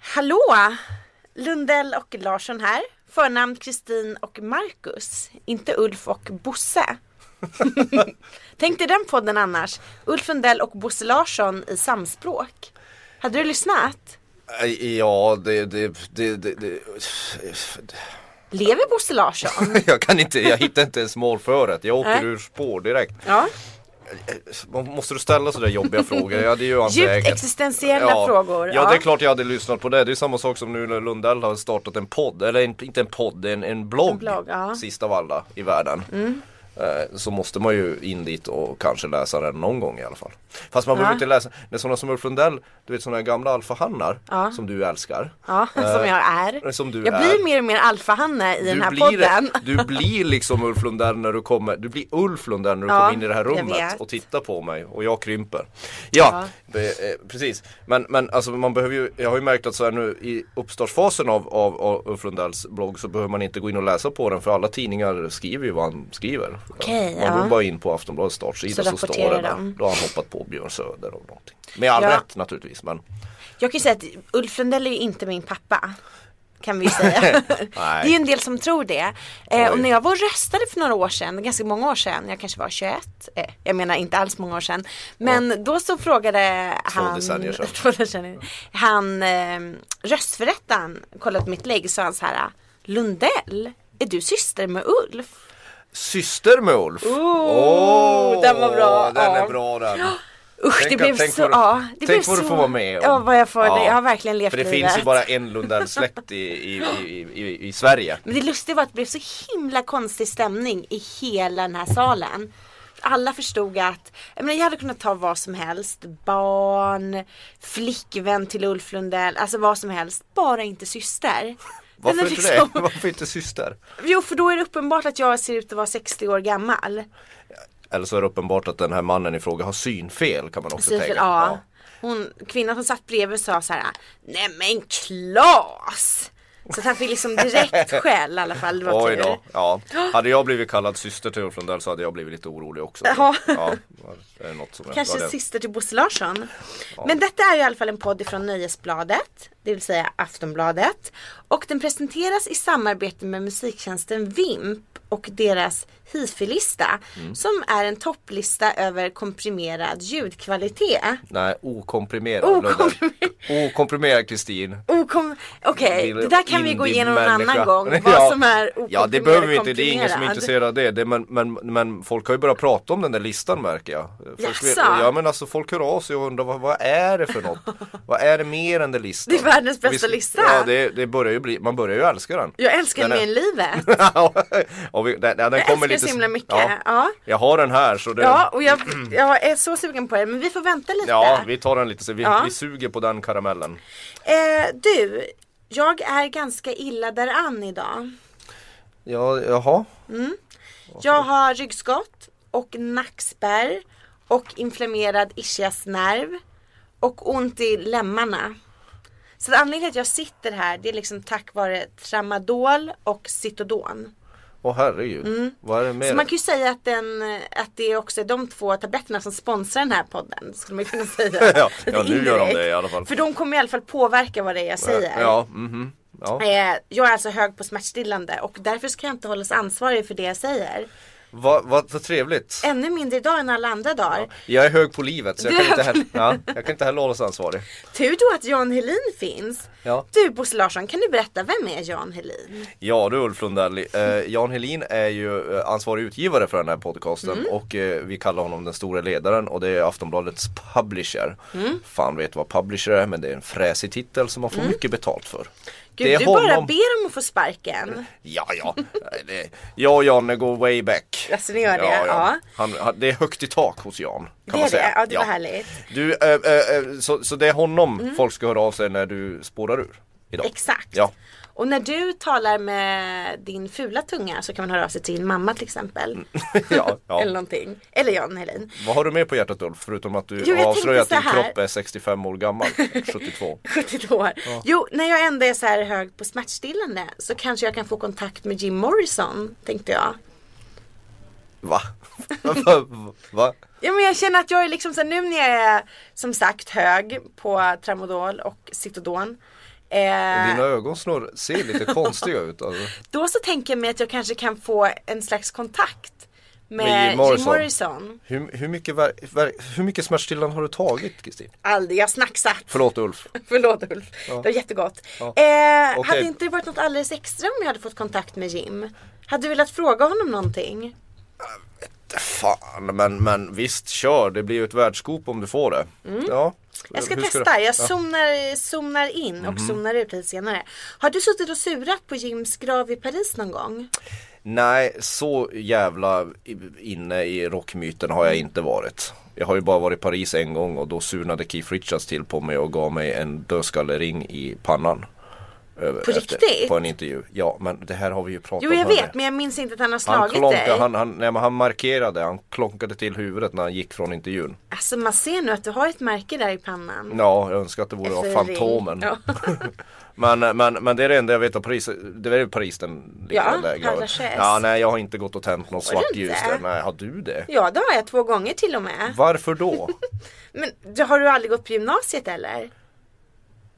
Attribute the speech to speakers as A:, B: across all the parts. A: Hallå! Lundell och Larsson här. Förnamn Kristin och Marcus. Inte Ulf och Bosse. Tänk dig den podden annars. Ulf Lundell och Bosse Larsson i samspråk. Hade du lyssnat?
B: Nej, Äh, Ja, det, det, det, det, det.
A: Lever Bosse Larsson?
B: Jag kan inte, jag hittar inte ens målföret. Jag åker
A: Nej.
B: ur spår direkt.
A: Ja.
B: Man- Måste du ställa sådär jobbiga frågor? Jag hade ju hans
A: Djupt
B: vägen.
A: existentiella frågor.
B: Ja.
A: Ja.
B: det är klart jag hade lyssnat på det. Det är samma sak som nu när Lundell har startat en podd, eller en, inte en podd, en, en blogg.
A: En blogg, ja. Mm.
B: Sist av alla i världen. Eh, Så måste man ju in dit och kanske läsa den någon gång i alla fall. Fast man behöver
A: Ja.
B: inte läsa, när sådana som Ulf Lundell, du vet sådana här gamla alfahannar
A: Ja.
B: som du älskar.
A: Ja, som jag är.
B: Eh, som du
A: jag
B: är.
A: blir mer och mer alfahanne i den här
B: blir,
A: podden.
B: Du blir liksom Ulf Lundell när du kommer, du blir Ulf Lundell när du
A: Ja,
B: kommer in i det här
A: jag
B: rummet
A: vet.
B: och tittar på mig och jag krymper. Ja, be- eh, precis. Men, men alltså man behöver ju, jag har ju märkt att så här nu i uppstartsfasen av, av, av Ulf Lundells blogg så behöver man inte gå in och läsa på den för alla tidningar skriver ju vad han skriver. Eh,
A: Okej,
B: man går
A: ja.
B: bara in på Aftonbladets startsida
A: Så
B: så, står
A: rapporterar
B: det där.
A: de.
B: Då har han hoppat på Björn Söder och någonting. Med all
A: Ja.
B: rätt naturligtvis men
A: Jag kan ju säga att Ulf Lundell är ju inte min pappa. Kan vi ju säga. det är ju en del som tror det. Eh, och
B: Oj.
A: när jag var och röstade för några år sedan, ganska många år sedan, jag kanske var 21, eh, jag menar inte alls många år sedan. Men då så frågade
B: Två
A: han,
B: decennier sedan.
A: två decennier, han eh, röstförrättaren, kollade på mitt lägg, sa han så här, Lundell, är du syster med Ulf?
B: Syster med Ulf. Åh,
A: den var bra.
B: Den
A: Ja.
B: är bra den.
A: Usch
B: Tänk
A: det
B: att-
A: blev
B: tänk
A: så,
B: vad du-
A: ja, det
B: tänk
A: blev
B: vad
A: så,
B: du får vara med om.
A: Ja vad jag får,
B: Ja.
A: jag har verkligen levt
B: För det
A: livet.
B: finns ju bara en Lundell-släkt i, i, i, i, i Sverige.
A: Men det lustiga var att det blev så himla konstig stämning i hela den här salen. Alla förstod att jag, menar, jag hade kunnat ta vad som helst. Barn, flickvän till Ulf Lundell, alltså vad som helst. Bara inte syster. Den
B: Varför
A: är
B: inte
A: liksom-
B: det? Varför inte syster?
A: Jo för då är det uppenbart att jag ser ut att vara 60 år gammal.
B: Eller så är det uppenbart att den här mannen i fråga har synfel kan man också
A: Precis,
B: tänka.
A: ja. Hon, kvinnan som satt bredvid sa så här, nej men Klas! Så att han fick liksom direkt skäll i alla fall, det var
B: Oj
A: tur.
B: då, ja. Hade jag blivit kallad syster till Ulf Lundell så hade jag blivit lite orolig också.
A: Ja.
B: det är något som jag-
A: Kanske
B: ja, det-
A: syster till Bosse Larsson. Men detta är ju i alla fall en podd ifrån Nöjesbladet, det vill säga Aftonbladet. Och den presenteras i samarbete med musiktjänsten Vimp och deras hifi-lista.
B: Mm.
A: Som är en topplista över komprimerad ljudkvalitet.
B: Nej, okomprimerad
A: Okomprimerad.
B: Lundell. Okomprimerad Kristin.
A: Okom- Okej, det där kan vi gå igenom någon annan
B: Indie-människa.
A: gång. Vad som är
B: Ja det behöver vi inte, det är ingen som är
A: okomprimerad.
B: intresserad av det. det men, men, men folk har ju börjat prata om den där listan märker jag. Folk vill-
A: Jaså?
B: ja men alltså folk hör av sig och undrar vad, vad är det för något? vad är det mer än den listan?
A: Det är världens bästa
B: Visst-
A: lista.
B: Ja det, det börjar ju bli, man börjar ju älska den.
A: Jag älskar
B: Den
A: den
B: är-
A: mer än livet.
B: och vi, den, den
A: Jag
B: kommer
A: älskar
B: lite,
A: så himla mycket.
B: Ja,
A: Ja.
B: Jag har den här så det,
A: Ja, och jag, jag är så sugen på det. Men vi får vänta lite.
B: ja, vi tar den lite så vi,
A: Ja.
B: vi suger på den karamellen.
A: Eh, du, jag är ganska illa däran idag.
B: Ja, jaha.
A: Jag har ryggskott och nackspärr och inflammerad ischiasnerv och ont i lemmarna. Så att anledningen till att jag sitter här det är liksom tack vare tramadol och citodon.
B: Åh herregud. Vad är det med
A: Mm. Så
B: det?
A: man kan ju säga att, den, att det är också de två tabletterna som sponsrar den här podden. Skulle man kunna säga.
B: Ja,
A: Lite
B: ja, nu gör de
A: indirekt.
B: det i alla fall.
A: För de kommer i alla fall påverka vad det är jag säger.
B: Ja, mhm. ja.
A: Eh, jag är alltså hög på smärtstillande och därför ska jag inte hållas ansvarig för det jag säger.
B: Vad vad vad trevligt.
A: Ännu mindre idag än alla andra dagar.
B: Jag är hög på livet så jag
A: Du
B: kan,
A: är
B: inte
A: hög
B: heller, ja, jag kan inte heller hållas ansvarig.
A: Tur då att Jan Helin finns.
B: Ja.
A: Du Bosse Larsson, kan du berätta vem är Jan Helin?
B: Ja du Ulf Lundell, eh, Jan Helin är ju eh, ansvarig utgivare för den här podcasten
A: Mm.
B: och eh, vi kallar honom den stora ledaren och det är Aftonbladets publisher.
A: Mm.
B: Fan vet vad publisher är men det är en fräsig titel som man får mycket betalt för.
A: Gud,
B: det är
A: du bara
B: honom-
A: ber om att få sparken.
B: Ja, ja. Det, jag och Jan går way back.
A: Jaså, ni gör det? Ja.
B: Han, han, det är högt i tak hos Jan. Kan
A: det
B: man
A: är
B: säga.
A: det, ja det var härligt.
B: Du, eh, eh, eh, så, så det är honom folk ska höra av sig när du spårar ur idag?
A: Exakt.
B: Ja.
A: Och när du talar med din fula tunga så kan man höra av sig till din mamma till exempel.
B: ja, ja.
A: Eller någonting. Eller Jan Helin.
B: Vad har du med på hjärtat Ulf? Förutom att du
A: Jo, jag
B: har avslöjat att
A: tänkte
B: din
A: så här.
B: kropp är 65 år gammal, 72.
A: 72 år. Jo, när jag ändå är så här hög på smärtstillande så kanske jag kan få kontakt med Jim Morrison, tänkte jag.
B: Va? Va? Va?
A: Ja men jag känner att jag är liksom så här, nu när jag är som sagt hög på tramadol och citodon Eh,
B: Dina ögonsnurr ser lite konstiga ut alltså.
A: då så tänker jag mig att jag kanske kan få en slags kontakt med,
B: Med Jim
A: Jim
B: Morrison.
A: Morrison.
B: hur, hur, mycket ver- ver- hur mycket smärtstillande har du tagit Kristin?
A: Aldrig, jag snacksat.
B: Förlåt Ulf
A: Förlåt Ulf, det var jättegott. Eh,
B: Okej.
A: Hade inte det varit något alldeles extra om jag hade fått kontakt med Jim? Hade du velat fråga honom någonting?
B: Fan men, men visst kör det blir ju ett världsskop om du får det ja.
A: Mm. Jag ska
B: Hur
A: testa, jag zonar, zonar in
B: Mhm.
A: och zonar ut lite senare. Har du suttit och surat på Jims grav i Paris någon gång?
B: Nej, så jävla i- inne i rockmyten har
A: Mm.
B: jag inte varit. Jag har ju bara varit i Paris en gång och då surnade Keith Richards till på mig och gav mig en dödskallering i pannan. På
A: riktigt?
B: På en intervju. Ja, men det här har vi ju pratat
A: Jo
B: om.
A: jag
B: hörni.
A: vet men jag minns inte att han har
B: Han,
A: slagit
B: klonka,
A: dig.
B: han, han, nej, men han markerade, han klonkade till huvudet när han gick från intervjun.
A: Alltså man ser nu att du har ett märke där i pannan.
B: Ja, jag önskar att det vore av
A: Efter Alltså, ring.
B: Fantomen.
A: Ja,
B: Men, men, men det är det enda jag vet om Paris. Det är väl Paris den
A: Ja,
B: den där graven.
A: Père Lachaise.
B: ja, nej jag har inte gått och tänt något
A: du
B: svart ljus
A: inte?
B: där. Nej, har du det?
A: ja det har jag två gånger till och med.
B: Varför då?
A: Men du- har du aldrig gått på gymnasiet eller?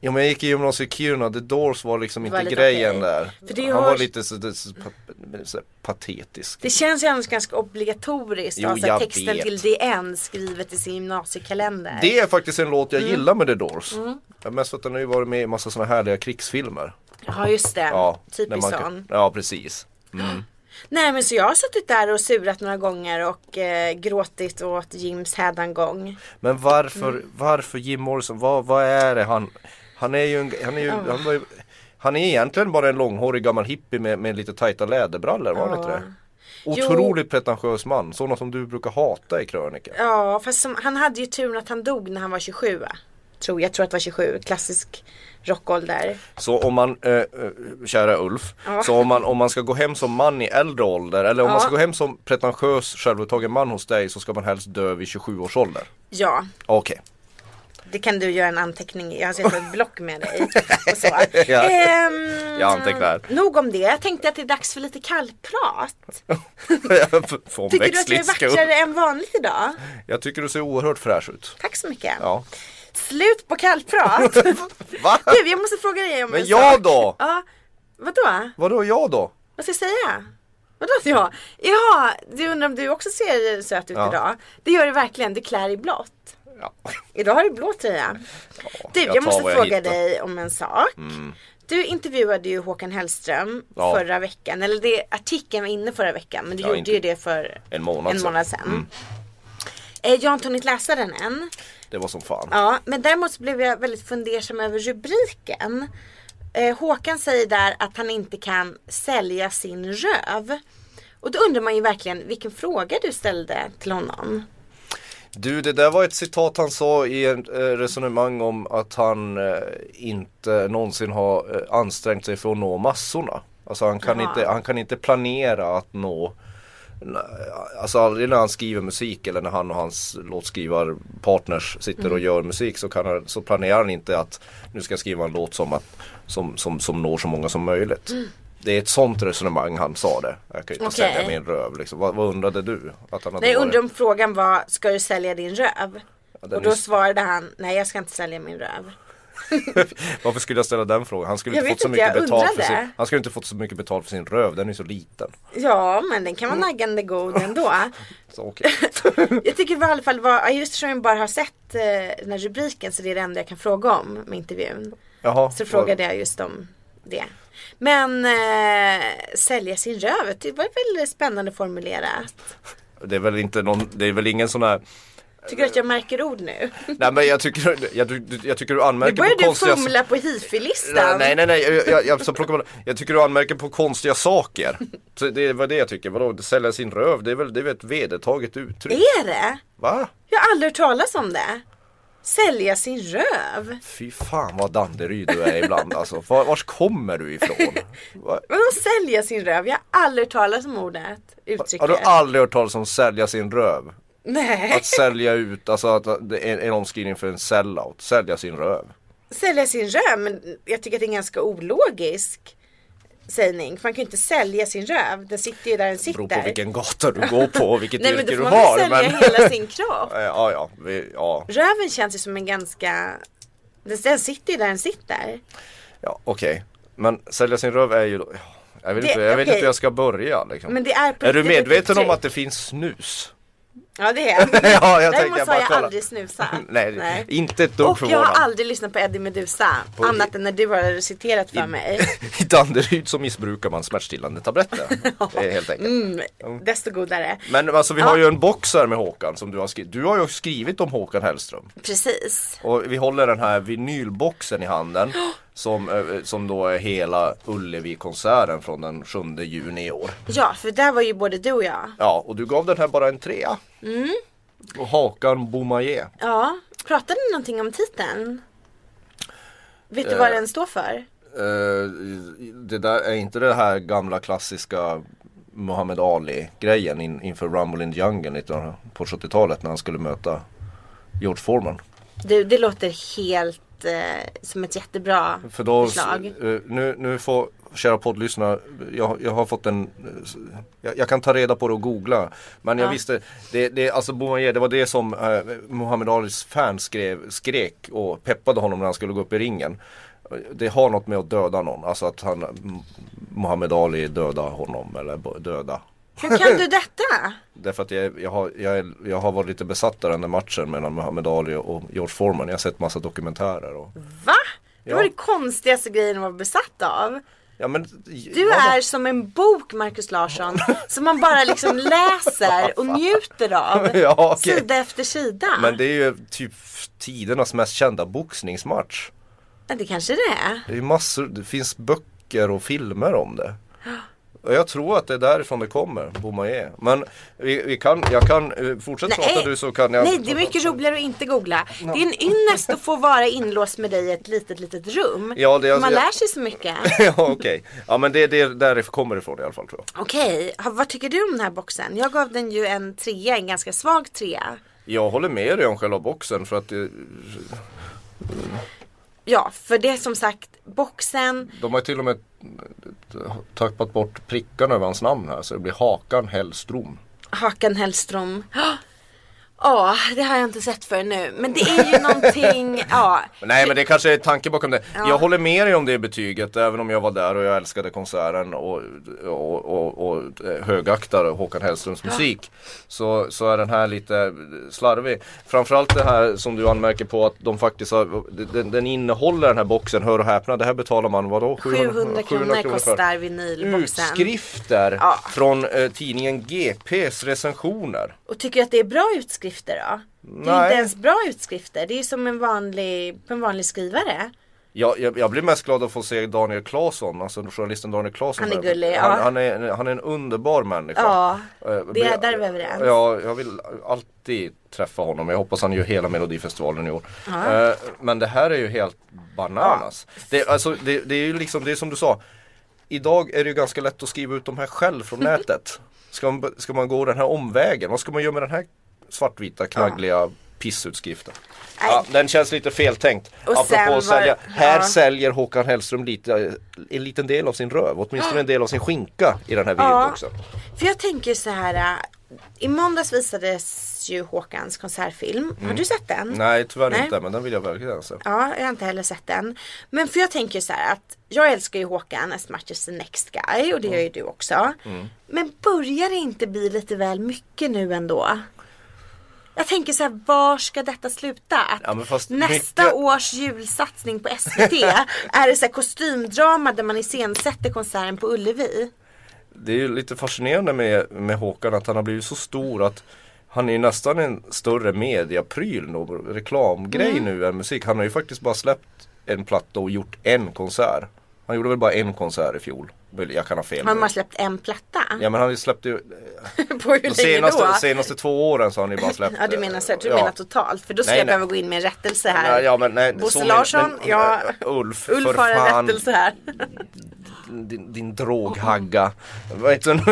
B: Ja men jag gick i gymnasiet i Kiruna, The Doors var liksom
A: var
B: inte
A: lite
B: grejen
A: okej.
B: där.
A: För det
B: Han
A: har-
B: var lite så, det, så, pa, så här patetisk.
A: Det känns ju annars ganska obligatoriskt
B: Jo,
A: att ha så här
B: jag
A: texten
B: vet.
A: till DN skrivet i sin gymnasiekalender.
B: Det är faktiskt en låt jag
A: Mm.
B: gillar med The Doors. Ja, Mest för att den har ju varit med i massa såna härliga krigsfilmer.
A: Ja just det,
B: Ja, när
A: typiskt
B: man-
A: sån.
B: Ja precis.
A: Nej men så jag har suttit där och surat några gånger och eh, gråtit åt Jims hädangång.
B: Men varför,
A: Mm.
B: varför Jim Morrison, vad, vad är det han, han är ju, en, han är ju, han var ju han är egentligen bara en långhårig gammal hippie med, med lite tajta läderbrallor, var han inte
A: Ja.
B: det? Otroligt pretentiös man, sådana som du brukar hata i krönikan.
A: Ja fast som, han hade ju turen att han dog när han var 27 va? Tror, jag tror att det var 27, klassisk rockålder.
B: Så om man, eh, eh, kära Ulf,
A: Ja.
B: så om man, om man ska gå hem som man i äldre ålder eller om man
A: Ja.
B: ska gå hem som pretentiös självupptagen man hos dig så ska man helst dö vid 27 års ålder.
A: Ja,
B: Okej.
A: det kan du göra en anteckning i. Jag har sett ett block med dig. Och så.
B: Ja.
A: Ehm,
B: Jag antecknar.
A: Nog om det. Jag tänkte att det är dags för lite kallprat.
B: För- för
A: Tycker du att jag
B: omväxlings
A: är
B: skull.
A: vackrare än vanligt idag?
B: Jag tycker du ser oerhört fräsch ut.
A: Tack så mycket.
B: Ja.
A: Slut på kallprat.
B: Va?
A: du, jag måste fråga dig om
B: Men
A: en
B: jag
A: sak.
B: då?
A: Ja, vadå?
B: Vadå jag då?
A: Vad ska jag säga? Vadå att jag? Ja, du undrar om du också ser söt ut
B: Ja.
A: idag? Det gör du verkligen, du klär i blått.
B: Ja.
A: Idag har du blå tröja. Du,
B: jag
A: jag,
B: tar
A: måste
B: vad jag
A: fråga
B: hittar. Mm.
A: dig om en sak. Du intervjuade ju Håkan Hellström
B: Ja.
A: förra veckan, eller det, artikeln var inne förra veckan men du
B: Ja,
A: gjorde
B: inte-
A: ju det för
B: En månad
A: en
B: sedan. Mm.
A: månad sedan. Eh, Jag har inte hunnit läsa den än.
B: Det var som fan.
A: Ja, men däremot så blev jag väldigt fundersam över rubriken. Eh, Håkan säger där att han inte kan sälja sin röv. Och då undrar man ju verkligen vilken fråga du ställde till honom.
B: Du, det där var ett citat han sa i en eh, resonemang om att han eh, inte någonsin har eh, ansträngt sig för att nå massorna. Alltså han kan,
A: Jaha.
B: inte, han kan inte planera att nå n- Alltså aldrig när han skriver musik eller när han och hans låtskrivarpartners sitter och
A: Mm.
B: gör musik så, kan han, så planerar han inte att nu ska jag skriva en låt som, att, som, som, som når så många som möjligt. Det är ett sånt resonemang han sa det. Jag kan ju inte
A: Mm. Okej.
B: sälja min röv liksom. vad, vad undrade du? Att han hade
A: Nej, jag
B: varit-
A: undrar om frågan var, ska du sälja din röv?
B: den
A: Och
B: är
A: då
B: s-
A: svarade han, nej jag ska inte sälja min röv.
B: Varför skulle jag ställa den frågan? Han skulle
A: Jag
B: inte
A: vet
B: fått så
A: inte,
B: mycket
A: jag
B: betalt för
A: undrade.
B: sin, Han skulle inte fått så mycket betalt för sin röv, den är ju så liten.
A: Ja, men den kan
B: Mm.
A: vara naggande god ändå.
B: Så okej.
A: Jag tycker i alla fall, var, ja, just eftersom jag bara har sett eh, den här rubriken så det är det enda jag kan fråga om med intervjun.
B: Jaha.
A: Så frågade jag just om det. Men eh, sälja sin röv, det var väl spännande formulerat.
B: Det är väl inte någon, det är väl ingen sån här
A: Tycker du att jag märker ord nu?
B: Nej men jag tycker, jag, du- jag tycker du
A: Nu
B: anmärker
A: börjar
B: på
A: du
B: konstiga
A: fumla på
B: Nej
A: hifi-listan.
B: nej nej, nej jag, jag, jag, så plockar man, jag tycker du anmärker på konstiga saker så Det var det jag tycker, vadå sälja sin röv det är väl, det är väl ett vedertaget uttryck?
A: Är det?
B: Va?
A: Jag har aldrig hört talas om det. Sälja sin röv?
B: Fy fan vad Danderyd du är ibland alltså, var, vars kommer du ifrån? Va?
A: Vadå sälja sin röv? Jag har aldrig hört talas om ordet,
B: Har
A: uttrycket.
B: du aldrig hört talas om sälja sin röv?
A: Nej,
B: Att sälja ut, alltså att det är en omskrivning för en sellout, sälja sin röv.
A: sälja sin röv, men jag tycker att det är en ganska ologisk sägning. För man kan ju inte sälja sin röv, den sitter ju där den
B: Beror på
A: sitter.
B: vilken gata du går på och vilket
A: Nej men då
B: yrke
A: får
B: du
A: man väl
B: har.
A: sälja
B: Men...
A: hela sin kropp.
B: Eh, ja, ja, vi, ja.
A: Röven känns ju som en ganska den, den sitter ju där den sitter.
B: Ja, okej. Men sälja sin röv är ju då, ja, jag vet,
A: Det-
B: inte, jag vet inte
A: okej.
B: hur jag ska börja liksom.
A: Men det är på
B: Är du
A: riktigt typ- ett
B: medveten om
A: uttryck.
B: att det finns snus?
A: Ja det är jag.
B: ja, jag
A: Däremot
B: tänker
A: så har
B: bara
A: jag
B: kolla.
A: aldrig snusat.
B: Nej, inte ett dugg
A: Och jag har
B: förvånad.
A: aldrig lyssnat på Eddie Meduza.
B: På-
A: annat än när du har citerat för
B: I-
A: mig.
B: I Danderyd så missbrukar man smärtstillande tabletter. Det är helt enkelt.
A: Mm, desto godare.
B: Men alltså vi
A: Ja.
B: har ju en box här med Håkan som du har skrivit. Du har ju skrivit om Håkan Hellström.
A: Precis.
B: Och vi håller den här vinylboxen i handen. Som, eh, som då är hela Ullevi-konserten från den 7 juni i år.
A: Ja, för där var ju både du och jag.
B: Ja, och du gav den här bara en trea. Och Håkan Boumaier.
A: Ja, pratade ni någonting om titeln? Vet du vad den står för?
B: Eh, det där är inte det här gamla klassiska Muhammad Ali grejen in, inför Rumble in the Jungle 19, på 70-talet när han skulle möta George Foreman.
A: Du, det låter helt eh, som ett jättebra
B: För då,
A: förslag.
B: eh, nu, nu får kära poddlyssnare, jag, jag har fått en, eh, s- jag, jag kan ta reda på det och googla. Men jag
A: Ja.
B: visste, det, det, alltså Boumaier, det var det som eh, Muhammad Alis fan skrev, skrek och peppade honom när han skulle gå upp i ringen. Det har något med att döda någon, alltså att han, M- Muhammad Ali döda honom eller bo- döda.
A: Hur kan du detta?
B: Därför att jag, jag, har, jag, är- jag har varit lite besatt av den där matchen mellan Muhammad Ali och George Foreman. Jag har sett massa dokumentärer och
A: Va? Det var
B: Ja.
A: det konstigaste grejen att vara besatt av.
B: Ja, men,
A: Du är som en bok Markus Larsson som man bara liksom läser och njuter av.
B: Ja, okej.
A: Sida efter sida.
B: Men det är ju typ tidernas mest kända boxningsmatch.
A: Ja, det kanske det är.
B: Det, är ju massor, det finns böcker och filmer om det. Och jag tror att det är därifrån det kommer, Boumaier. Men vi, vi kan, jag kan, eh, fortsätt prata du så kan jag
A: Nej, det är mycket roligare att inte googla. Det är en ynnest att få vara inlåst med dig i ett litet, litet rum.
B: Ja, det-
A: Man
B: jag-
A: lär sig så mycket.
B: Ja okej, ja men det, det är därifrån kommer det ifrån i alla fall tror jag.
A: Okej, ha- vad tycker du om den här boxen? Jag gav den ju en trea, en ganska svag trea.
B: Jag håller med dig om själva boxen för att eh,
A: Ja, för det är som sagt boxen.
B: de har ju till och med tappat bort prickarna över hans namn här så det blir Hakan Hellström.
A: Hakan Hellström. Ja, det har jag inte sett för nu. Men det är ju någonting, ja.
B: Nej men det kanske är tanken bakom det. Jag håller med dig om det betyget även om jag var där och jag älskade konserten och, och, och, och eh, högaktar Håkan Hellströms musik. Så, så är den här lite slarvig. Framförallt det här som du anmärker på att de faktiskt har, den, den innehåller den här boxen, hör och häpna, det här betalar man vadå?
A: 700 kronor
B: för.
A: kostar vinylboxen.
B: Utskrifter
A: Ja.
B: från eh, tidningen GPs recensioner.
A: Och tycker du att det är bra utskrifter då? Det är ju
B: Nej.
A: inte ens bra utskrifter. Det är ju som en vanlig, på en vanlig skrivare.
B: Jag, jag, jag blir mest glad att få se Daniel Claesson, alltså journalisten Daniel Claesson.
A: Han är gullig, ja.
B: han, han, är, han är en underbar människa.
A: Ja,
B: Eh,
A: det är
B: men-
A: där är vi överens.
B: Ja, jag vill alltid träffa honom. Jag hoppas han gör hela Melodifestivalen i år. Eh, Men det här är ju helt bananas. Det, alltså, det, det är ju liksom, det är som du sa. Idag är det ju ganska lätt att skriva ut de här själv från nätet. Ska man, ska man gå den här omvägen? Vad ska man göra med den här svartvita knaggliga pissutskriften?
A: Nej.
B: Ja, den känns lite feltänkt.
A: Och
B: Apropå
A: sen var-
B: att sälja, här
A: ja.
B: säljer Håkan Hellström lite, eh, en liten del av sin röv, åtminstone en del av sin skinka i den här videon också.
A: För jag tänker så här. äh, I måndags visades ju Håkans konsertfilm.
B: Mm.
A: Har du sett den?
B: Nej tyvärr
A: Nej.
B: inte men den vill jag verkligen se.
A: Ja, jag har inte heller sett den. Men för jag tänker så här att jag älskar ju Håkan as much as the next guy och det
B: Mm.
A: gör ju du också. Men börjar det inte bli lite väl mycket nu ändå? Jag tänker så här, var ska detta sluta? Att
B: Ja, men fast
A: nästa
B: mycket-
A: års julsatsning på SVT är det så här kostymdrama där man iscensätter konserten på Ullevi.
B: Det är ju lite fascinerande med, med Håkan att han har blivit så stor att han är ju nästan en större mediapryl nu, reklamgrej
A: Mm.
B: nu än musik. Han har ju faktiskt bara släppt en platta och gjort en konsert. Han gjorde väl bara en konsert i fjol. Jag kan ha fel.
A: Har
B: nu.
A: man släppt en platta?
B: Ja men han släppte ju
A: på hur
B: De
A: länge
B: senaste,
A: då?
B: senaste två åren så har ni bara släppt eh,
A: Ja du menar så, jag tror
B: ja.
A: du menar totalt för då skulle
B: Nej,
A: jag
B: nej.
A: behöva gå in med en rättelse här.
B: Nej, ja, men nej,
A: Bosse
B: så men-
A: Larsson,
B: men-
A: ja.
B: Ulf, för
A: Ulf har en
B: fan,
A: rättelse här.
B: din, din droghagga. Vad heter den?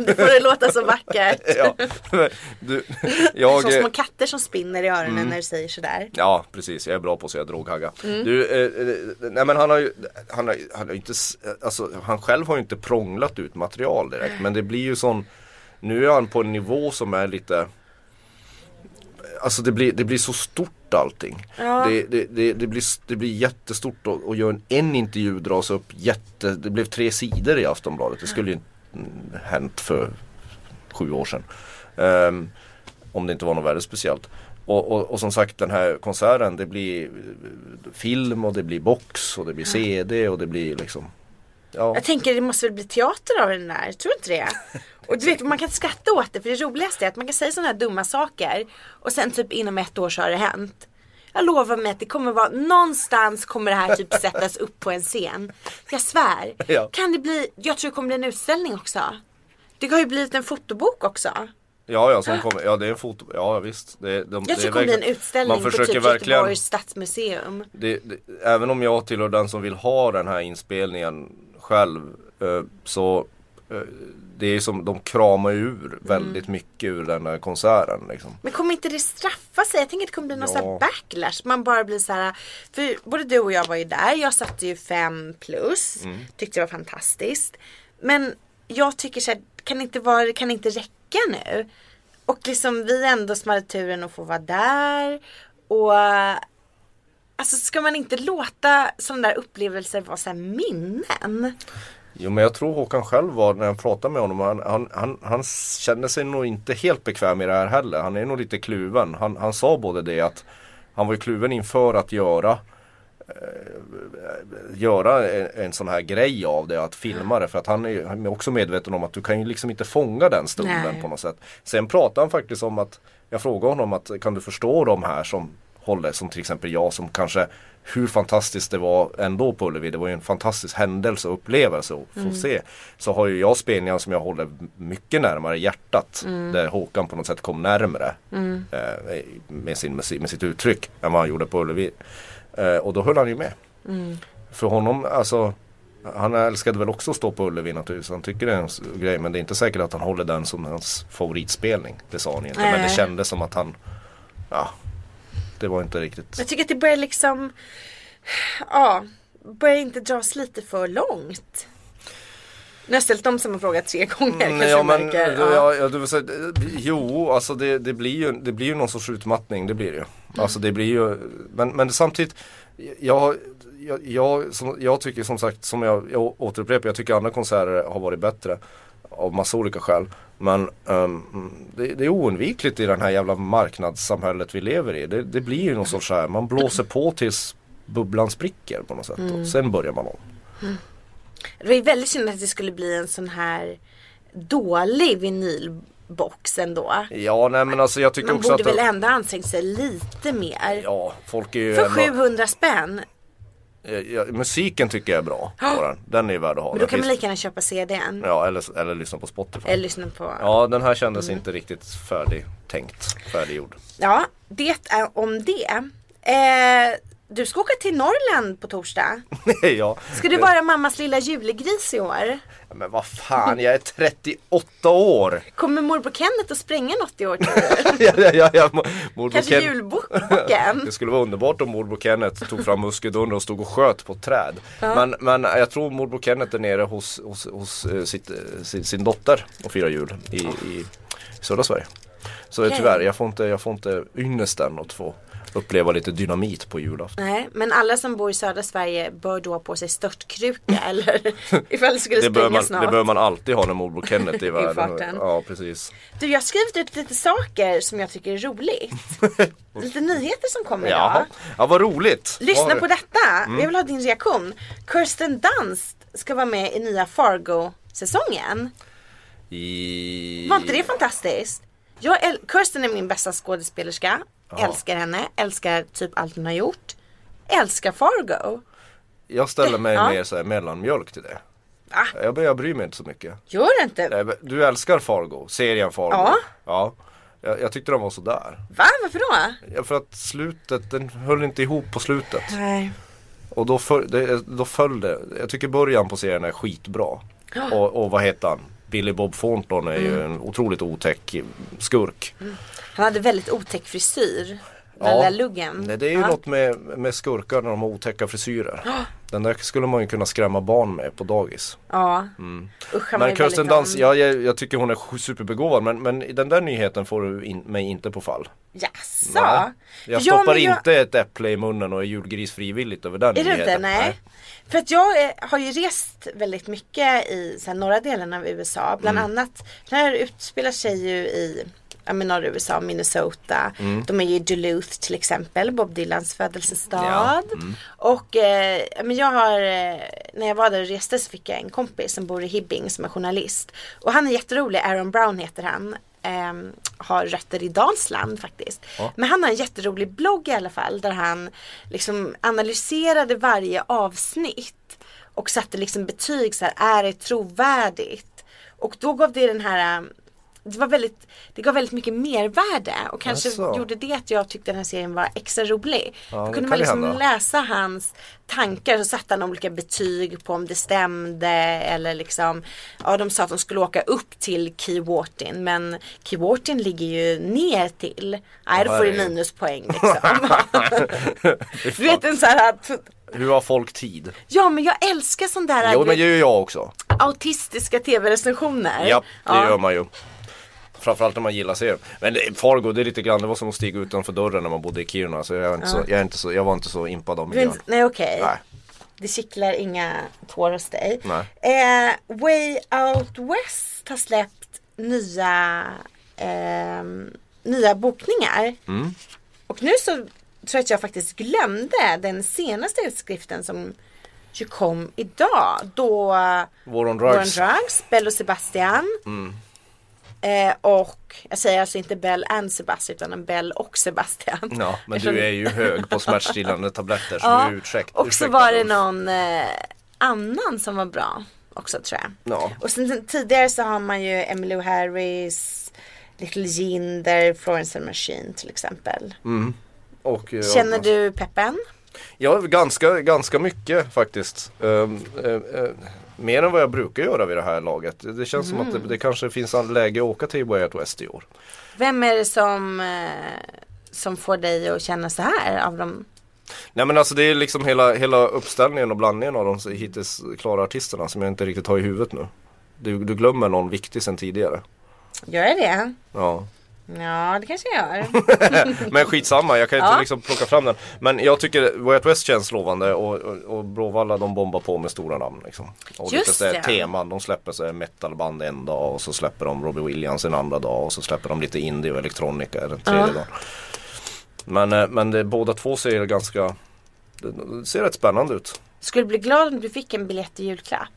A: Nu får det låta så vackert.
B: ja. Du, jag, Mm.
A: Som små katter som spinner i öronen när du säger sådär.
B: Ja precis, jag är bra på att säga droghagga. Du, eh, eh, nej men han har ju, han har, han har ju inte, s- alltså han själv har ju inte prånglat ut material direkt men det blir ju sån, nu är han på en nivå som är lite Alltså det blir, det blir så stort allting.
A: Ja.
B: Det, det, det, det, blir, det blir jättestort och, och gör en, en intervju dras upp jätte, det blev tre sidor i Aftonbladet. Det skulle ju mm, hänt för sju år sedan. Ehm, om det inte var något väldigt speciellt. Och, och, och som sagt den här konserten det blir eh, film och det blir box och det blir CD och det blir liksom Ja,
A: Jag tänker det måste väl bli teater av den där, tror du inte det? Och du vet man kan skratta åt det för det roligaste är att man kan säga sådana här dumma saker och sen typ inom ett år så har det hänt. Jag lovar mig att det kommer vara, någonstans kommer det här typ sättas upp på en scen. Jag svär.
B: Ja.
A: Kan det bli, jag tror det kommer bli en utställning också. Det har ju blivit en fotobok också.
B: ja, ja, som kommer, ja det är en foto, ja visst. Det, de,
A: Jag
B: det
A: tror det
B: är
A: kommer bli en
B: verkligen-
A: utställning på
B: försöker
A: typ
B: verkligen-
A: Göteborgs stadsmuseum.
B: det, det, även om jag tillhör den som vill ha den här inspelningen själv eh, så eh, det är som de kramar ur väldigt
A: Mm.
B: mycket ur den där konserten liksom.
A: Men kommer inte det straffa sig? Jag tänker att det kommer bli någon
B: Ja.
A: sån här backlash. Man bara blir så här. För både du och jag var ju där. Jag satte ju 5 plus. Tyckte det var fantastiskt. Men jag tycker så här, kan det inte, vara, kan det inte räcka nu? Och liksom vi ändå som hade turen att få vara där. Och alltså ska man inte låta sådana där upplevelser vara så här minnen?
B: Jo men jag tror Håkan själv var när jag pratade med honom han, han, han, han känner sig nog inte helt bekväm i det här heller. Han är nog lite kluven. Han, han sa både det att han var ju kluven inför att göra göra en, en sån här grej av det, att filma det. För att han är, ju- han är också medveten om att du kan ju liksom inte fånga den stunden
A: Nej.
B: på något sätt. Sen pratar han faktiskt om att, jag frågade honom att kan du förstå de här som håller, som till exempel jag som kanske hur fantastiskt det var ändå på Ullevi. Det var ju en fantastisk händelse och upplevelse att få se. Så har ju jag spelningar som jag håller mycket närmare hjärtat. Där Håkan på något sätt kom närmare eh, med, sin, med, sin, med sitt uttryck än vad han gjorde på Ullevi. Eh, och då höll han ju med. För honom, alltså han älskade väl också att stå på Ullevi naturligtvis. Han tycker det är en s- grej men det är inte säkert att han håller den som hans favoritspelning. Det sa han inte. Men det
A: Nej.
B: kändes som att han, ja, det var inte riktigt.
A: Jag tycker att det börjar liksom, ja, börjar inte dras lite för långt. Nu har jag ställt om samma fråga tre gånger
B: Mm,
A: kanske
B: ja,
A: du
B: men,
A: märker.
B: ja.
A: Ja.
B: Ja, du vill säga, eh, jo, alltså det, det, blir ju, det blir ju någon sorts utmattning, det blir det ju.
A: Mm.
B: Alltså det blir ju, men, men samtidigt, jag, jag, jag, som, jag tycker som sagt, som jag, jag återupprepar, jag tycker andra konserter har varit bättre. Av massa olika skäl. Men ehm, det, det är oundvikligt i det här jävla marknadssamhället vi lever i. Det, det blir ju någon sorts så här, man blåser på tills bubblan spricker på något sätt.
A: Mm.
B: Och sen börjar man om.
A: Det var ju väldigt synd att det skulle bli en sån här dålig vinylbox ändå.
B: Ja, nej men alltså jag tycker
A: Man
B: också
A: borde
B: att...
A: väl ändå ansträngt sig lite mer.
B: Ja, folk är ju
A: För
B: ändå-
A: 700 spänn.
B: Eh, Ja, musiken tycker jag är bra. På den. den är ju värd att ha.
A: Men då
B: Den
A: kan man
B: finns-
A: lika gärna köpa CDn.
B: Ja, eller, eller lyssna på Spotify.
A: Eller lyssna på. Ja.
B: Ja, den här kändes
A: Mm.
B: inte riktigt färdigtänkt, färdiggjord.
A: det är om det. Eh, du ska åka till Norrland på torsdag.
B: ja.
A: Ska du vara mammas lilla julegris i år?
B: Men vad fan, jag är 38 år!
A: Kommer morbror Kenneth att spränga något i år?
B: ja, ja, ja, ja. Mo- Morbror
A: Kanske
B: Ken-
A: julboken?
B: Det skulle vara underbart om morbror Kenneth tog fram muskeldundrar och stod och sköt på ett träd. Men, men jag tror morbror Kenneth är nere hos, hos, hos eh, sitt, eh, sin, sin dotter och firar jul i, i södra Sverige. Så
A: Okej.
B: tyvärr, jag får inte, jag får inte ynnesten att få uppleva lite dynamit på julafton.
A: Nej, men alla som bor i södra Sverige bör då ha på sig störtkruka eller ifall det skulle
B: Det bör, man,
A: sprängas
B: det bör
A: något.
B: man alltid ha när morbror Kenneth är i världen.
A: farten.
B: ja, precis.
A: Du, jag har skrivit ut lite saker som jag tycker är roligt. lite nyheter som kommer
B: Ja.
A: idag.
B: ja, vad roligt!
A: Lyssna
B: Vad-
A: på detta.
B: Mm.
A: Jag vill ha din reaktion. Kirsten Dunst ska vara med i nya Fargo-säsongen.
B: I...
A: Var inte det fantastiskt? Jag äl- Kirsten är min bästa skådespelerska. Älskar henne, älskar typ allt hon har gjort. Älskar Fargo.
B: Jag ställer mig
A: Ja.
B: mer så här mellanmjölk till det.
A: Va?
B: Jag, jag bryr mig inte så mycket.
A: Gör det inte?
B: Nej, men Du älskar Fargo, serien Fargo.
A: Ja.
B: ja. Jag, jag tyckte den var sådär.
A: Va? Varför då?
B: Ja, för att slutet, den höll inte ihop på slutet.
A: Nej.
B: Och då, föll- det, då föll det. Jag tycker början på serien är skitbra. Och, och vad heter han? Billy Bob Thornton är ju
A: Mm.
B: en otroligt otäck skurk.
A: Han hade väldigt otäck frisyr. Den
B: Ja.
A: där luggen.
B: Nej, det är ju
A: ja.
B: något med, med skurkar när de har otäcka frisyrer. Den där skulle man ju kunna skrämma barn med på dagis.
A: Ja. Usch, han var
B: Mm. Men
A: ju
B: Kirsten
A: väldigt
B: Dunst, ja, jag, jag tycker hon är sj- superbegåvad men, men i den där nyheten får du in, mig inte på fall.
A: Jaså?
B: Nej.
A: Ja,
B: Jag stoppar
A: men jag-
B: inte ett äpple i munnen och är julgris frivilligt över den
A: Är det
B: nyheten.
A: inte? Nej. För att jag eh, har ju rest väldigt mycket i så här, norra delen av USA. Bland annat, den här utspelar sig ju i ja, men norra USA, Minnesota. De är ju i Duluth till exempel, Bob Dylans födelsestad.
B: Ja,
A: Och eh, ja, men jag har, eh, när jag var där och reste så fick jag en kompis som bor i Hibbing som är journalist. Och han är jätterolig, Aaron Brown heter han. Ehm, har rötter i Dalsland faktiskt.
B: Ja.
A: Men han har en jätterolig blogg i alla fall där han liksom analyserade varje avsnitt och satte liksom betyg så här, är det trovärdigt? Och då gav det den här, eh, det var väldigt, det gav väldigt mycket mervärde och kanske
B: Jaså.
A: gjorde det att jag tyckte den här serien var extra rolig.
B: Ja,
A: då
B: det
A: kunde
B: kan
A: man
B: ju
A: liksom
B: hända.
A: läsa hans tankar så satte han olika betyg på om det stämde eller liksom Ja de sa att de skulle åka upp till Keywattin men Keywattin ligger ju ner till Nej då får du
B: herregud.
A: minuspoäng liksom. du vet en sån här
B: Hur har folk tid?
A: Ja men jag älskar sån där du
B: Jo men
A: vet,
B: det gör jag också.
A: autistiska tv-recensioner.
B: Ja, det gör man ju. Framförallt om man gillar serien. Men det, Fargo, det är lite grann, det var som att stiga utanför dörren när man bodde i Kiruna. Så jag, är inte så, jag, är inte så, jag var inte så impad av
A: Du är
B: miljön.
A: inte- Nej okej.
B: Nej.
A: Det kittlar inga tår hos dig.
B: Nej.
A: Eh, Way Out West har släppt nya, ehm, nya bokningar.
B: Mm.
A: Och nu så tror jag att jag faktiskt glömde den senaste utskriften som ju kom idag. Då
B: War
A: Warren
B: on drugs. Mm.
A: Drugs, Bell och Sebastian. Eh, och jag säger alltså inte Bell and Sebastian utan Bell och Sebastian.
B: Ja, men
A: Eftersom-
B: du är ju hög på smärtstillande tabletter så
A: Ja,
B: du är ursäkt,
A: och så
B: ursäktad.
A: var det någon eh, annan som var bra också tror jag.
B: Ja.
A: Och sen, sen tidigare så har man ju Emmylou Harris, Little Jinder, Florence and the Machine till exempel.
B: mm. Och, eh,
A: Känner du peppen?
B: Ja, ganska, ganska mycket faktiskt. Ehm, eh, eh, mer än vad jag brukar göra vid det här laget. Det det känns som att det, det kanske finns en läge att åka till Way Out West i år.
A: Vem är det som, eh, som får dig att känna så här av dem?
B: Nej men alltså det är liksom hela, hela uppställningen och blandningen av de hittills klara artisterna som jag inte riktigt har i huvudet nu. Du, du glömmer någon viktig sen tidigare.
A: Gör jag det?
B: Ja.
A: Ja, det kanske jag gör.
B: Men skitsamma, jag kan inte
A: Ja.
B: liksom plocka fram den. Men jag tycker Way Out West känns lovande och, och, och Bråvalla de bombar på med stora namn. Liksom. Och
A: Just
B: lite så här
A: det.
B: teman, de släpper så här metalband en dag och så släpper de Robbie Williams en andra dag och så släpper de lite indie och elektronika den tredje
A: Ja.
B: dagen. Men, eh, men det, båda två ser ganska, det, det ser rätt spännande ut.
A: Skulle bli glad om du fick en biljett i julklapp.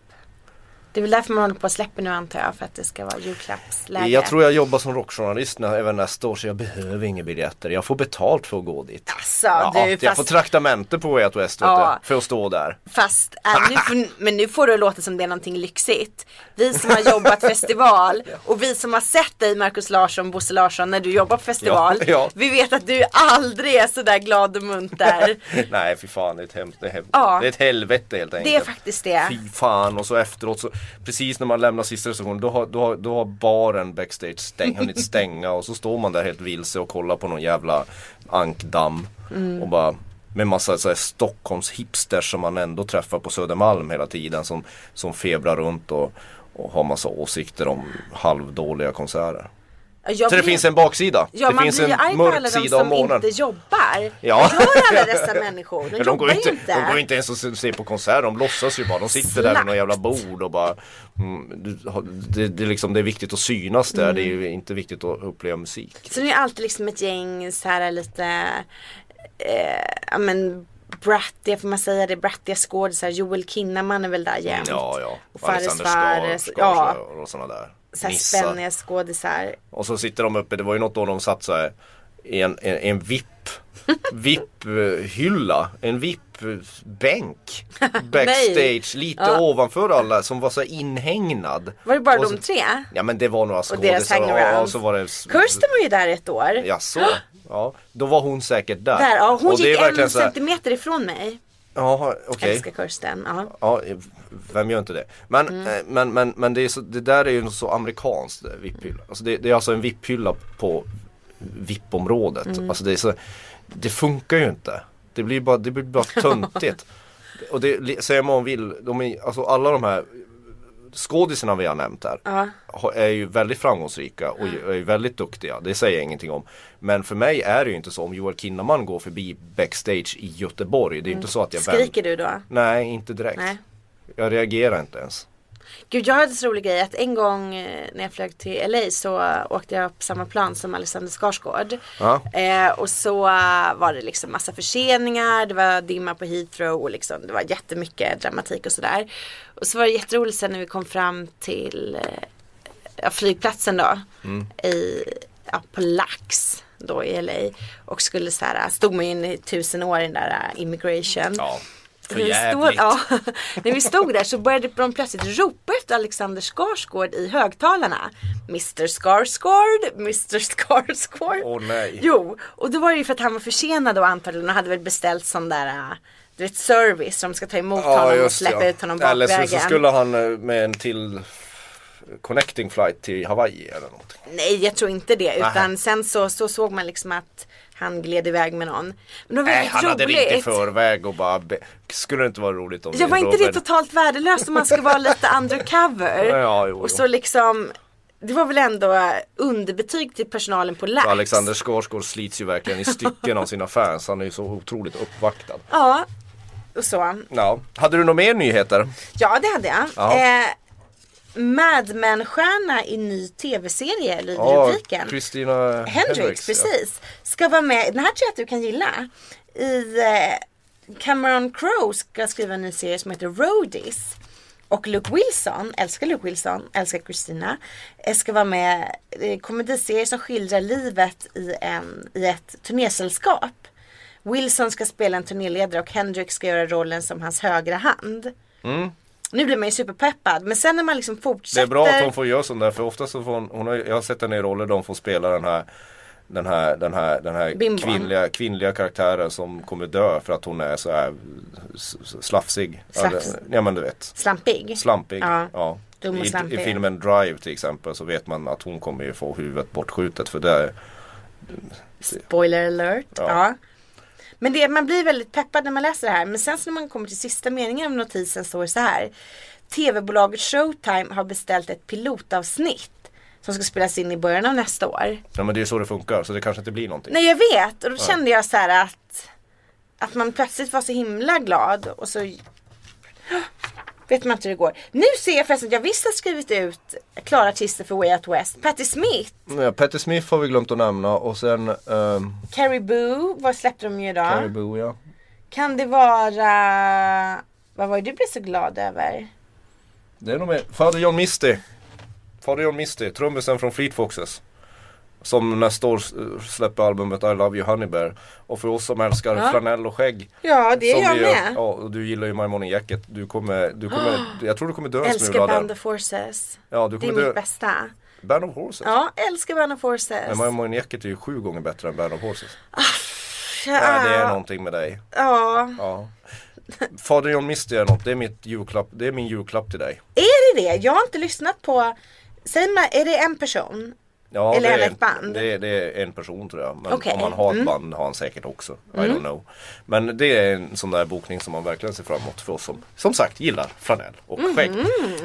A: Det är väl därför man håller på att släppa nu antar jag för att det ska vara julklappsläge.
B: Jag tror jag jobbar som rockjournalist när, även nästa år så jag behöver inga biljetter. Jag får betalt för att gå dit.
A: Alltså,
B: Ja,
A: du,
B: Jag
A: fast
B: får traktamente på Way Out West vet
A: Ja.
B: du, för att stå där.
A: Fast, äh, nu får, men nu får det låta som det är någonting lyxigt. Vi som har jobbat festival och vi som har sett dig Markus Larsson, Bosse Larsson när du jobbar på festival.
B: Ja, ja.
A: Vi vet att du aldrig är sådär glad och munter.
B: Nej fy fan, det är ett, hem, det är hem,
A: Ja.
B: det är ett helvete helt enkelt.
A: Det är faktiskt det.
B: Fy fan och så efteråt så precis när man lämnar sista recensionen då har, då har, då har baren backstage stäng, hunnit stänga och så står man där helt vilse och kollar på någon jävla ankdamm
A: Mm.
B: och bara med massa så här Stockholms hipsters som man ändå träffar på Södermalm hela tiden som, som febrar runt och, och har massa åsikter om halvdåliga konserter.
A: Jag
B: Så det
A: blir-
B: finns en baksida.
A: Ja
B: det
A: man
B: finns
A: blir ju
B: en
A: arg på
B: mörk
A: alla de
B: sida av
A: som
B: månen.
A: inte jobbar.
B: Ja.
A: Vad gör alla dessa människor? De,
B: Men de,
A: jobbar
B: går
A: ju
B: inte,
A: inte.
B: de går inte ens och se- ser på konserter, de låtsas ju bara. De sitter där vid något jävla bord och bara mm, du har- det, det, är liksom, det är viktigt att synas där, det är ju
A: Mm.
B: inte viktigt att uppleva musik.
A: Så det är alltid liksom ett gäng så här lite, eh, ja men brattiga, får man säga det, brattiga skådisar. Joel Kinnaman är väl där jämt.
B: Mm, Ja, ja.
A: Och Fares
B: Alexander
A: Fares,
B: Skarsgård
A: ja.
B: och- och sådana där.
A: Så här
B: Nissa.
A: spänniga skådisar.
B: Och så sitter de uppe, det var ju något år de satt så här i en, en, en VIP VIP-hylla, en VIP-bänk backstage lite ovanför alla som var så här inhägnad.
A: Var det bara
B: Och
A: de
B: så-
A: tre?
B: Ja men det var några
A: Och deras
B: skådisar
A: hangarounds.
B: ja, och så var det
A: Kirsten var ju där ett år.
B: Ja så. Ja, då var hon säkert där.
A: Där, ja, hon
B: och det
A: gick
B: är verkligen
A: en
B: så här,
A: centimeter ifrån mig.
B: Jaha, okej.
A: Älskar Mm. Kirsten. Ja.
B: Ja, vem gör inte det? Men, eh, men, men, men det, är så, det där är ju så amerikanskt eh, VIP-hylla. Alltså det, det är alltså en VIP-hylla på
A: Mm.
B: VIP-området. Alltså det, är så, det funkar ju inte. Det blir bara, det blir bara töntigt. och det, säger man vill, de är, alltså alla de här skådisarna vi har nämnt här
A: Ja.
B: har- är ju väldigt framgångsrika och ju- är ju väldigt duktiga. Det säger jag ingenting om. Men för mig är det ju inte så. Om Joel Kinnaman går förbi backstage i Göteborg. Det är inte så att jag vänder-
A: Mm. Skriker du då?
B: Nej, inte direkt.
A: Nej.
B: Jag reagerar inte ens.
A: Gud jag hade en så rolig grej att en gång eh, när jag flög till LA så eh, åkte jag på samma plan som Alexander Skarsgård.
B: Ja.
A: Eh, och så eh, var det liksom massa förseningar, det var dimma på Heathrow och liksom, det var jättemycket dramatik och sådär. Och så var det jätteroligt sen när vi kom fram till eh, ja, flygplatsen då. I, ja, på Lax då i LA. Och skulle så här, stod man ju in i tusen år i den där eh, immigration.
B: Ja, för
A: Vi stod,
B: jävligt.
A: ja, när vi stod där så började de plötsligt ropa efter Alexander Skarsgård i högtalarna. Mr Skarsgård, Mr Skarsgård.
B: Åh, nej.
A: Jo, och då var det ju för att han var försenad och antagligen och hade väl beställt sån där äh, du vet, service som ska ta emot honom och
B: just det,
A: släppa ut honom
B: Eller så,
A: bakvägen.
B: så skulle han eh, med en till connecting flight till Hawaii eller någonting.
A: Nej, jag tror inte det. Utan
B: Nähä.
A: sen så, så såg man liksom att han gled iväg med någon. Men det var
B: Nej,
A: väldigt
B: han hade ringt i
A: roligt.
B: förväg och bara be- Skulle det inte vara roligt om
A: Jag
B: vi
A: var inte det
B: Robert-
A: totalt värdelöst om man ska vara lite undercover?
B: Ja, jo, jo.
A: Och så liksom Det var väl ändå underbetyg till personalen på Lax?
B: Så Alexander Skarsgård slits ju verkligen i stycken av sina fans. Han är ju så otroligt uppvaktad.
A: Ja Och så
B: Ja. Hade du några mer nyheter?
A: Ja det hade jag
B: Ja.
A: eh, Mad Men-stjärna i ny tv-serie lyder rubriken
B: Kristina
A: Hendrix,
B: Hendricks, ja.
A: precis Ska vara med, den här tror jag att du kan gilla I eh, Cameron Crowe ska skriva en ny serie som heter Roadies och Luke Wilson, älskar Luke Wilson, älskar Christina eh, Ska vara med i en komediserie som skildrar livet i, en, i ett turnésällskap Wilson ska spela en turnéledare och Hendrix ska göra rollen som hans högra hand Nu blir man ju superpeppad men sen när man liksom
B: Mm. Det
A: fortsätter
B: är bra att hon får göra sånt där för ofta så får hon, hon har, jag har sett henne i roller där hon får spela den här den här, den här, den här
A: Bimbon.
B: kvinnliga, kvinnliga karaktären som kommer dö för att hon är så här s- s- slafsig.
A: Slafs-
B: Eller- Ja men du vet.
A: Slampig
B: Slampig.
A: Ja.
B: Ja.
A: Dum och
B: I,
A: slampig.
B: I filmen Drive till exempel så vet man att hon kommer ju få huvudet bortskjutet för det
A: Spoiler alert.
B: Ja.
A: Ja. Men det, man blir väldigt peppad när man läser det här. Men sen så när man kommer till sista meningen av notisen står det så här. TV-bolaget Showtime har beställt ett pilotavsnitt som ska spelas in i början av nästa år.
B: Ja men det är ju så det funkar så det kanske inte blir någonting.
A: Nej jag vet och då kände jag så här att att man plötsligt var så himla glad och så vet man inte hur det går. Nu ser jag förresten att jag visst har skrivit ut klara artister för Way Out West. Patti Smith,
B: Mm, Ja, Patti Smith har vi glömt att nämna och sen um,
A: Carrie Boo, vad släppte de ju idag?
B: Caribou ja.
A: Kan det vara... Vad var det du blev så glad över?
B: Det är nog mer. Fader John Misty. Fader John Misty, trummisen från Fleet Foxes. Som nästa år eh, släpper albumet I Love You Honey Bear. Och för oss som älskar
A: Ja.
B: flanell och skägg.
A: Ja, det är
B: som
A: jag
B: vi gör-
A: med.
B: Ja, och du gillar ju My Morning Jacket. Du kommer, du kommer, jag tror du kommer dö en smula
A: Älskar
B: där.
A: Band of Forces.
B: Ja, du
A: Det är
B: kommer
A: mitt
B: dö.
A: bästa.
B: Band of Horses.
A: Ja, älskar Band of Forces.
B: Men My Morning Jacket är ju sju gånger bättre än Band of Horses.
A: Ja,
B: Nej, det är någonting med dig.
A: ja.
B: Ja. Fader John Misty är något. Det är, mitt julklapp, det är min julklapp till dig.
A: Är det det? Jag har inte lyssnat på... Säg mig, är det en person?
B: Ja,
A: Eller
B: det
A: är det
B: en-
A: ett band?
B: Det, är- det är en person tror jag. Men
A: Okej. Mm.
B: om man har ett band har han säkert också. I don't know. Men det är en sån där bokning som man verkligen ser fram emot för oss som som sagt gillar flanell och skägg.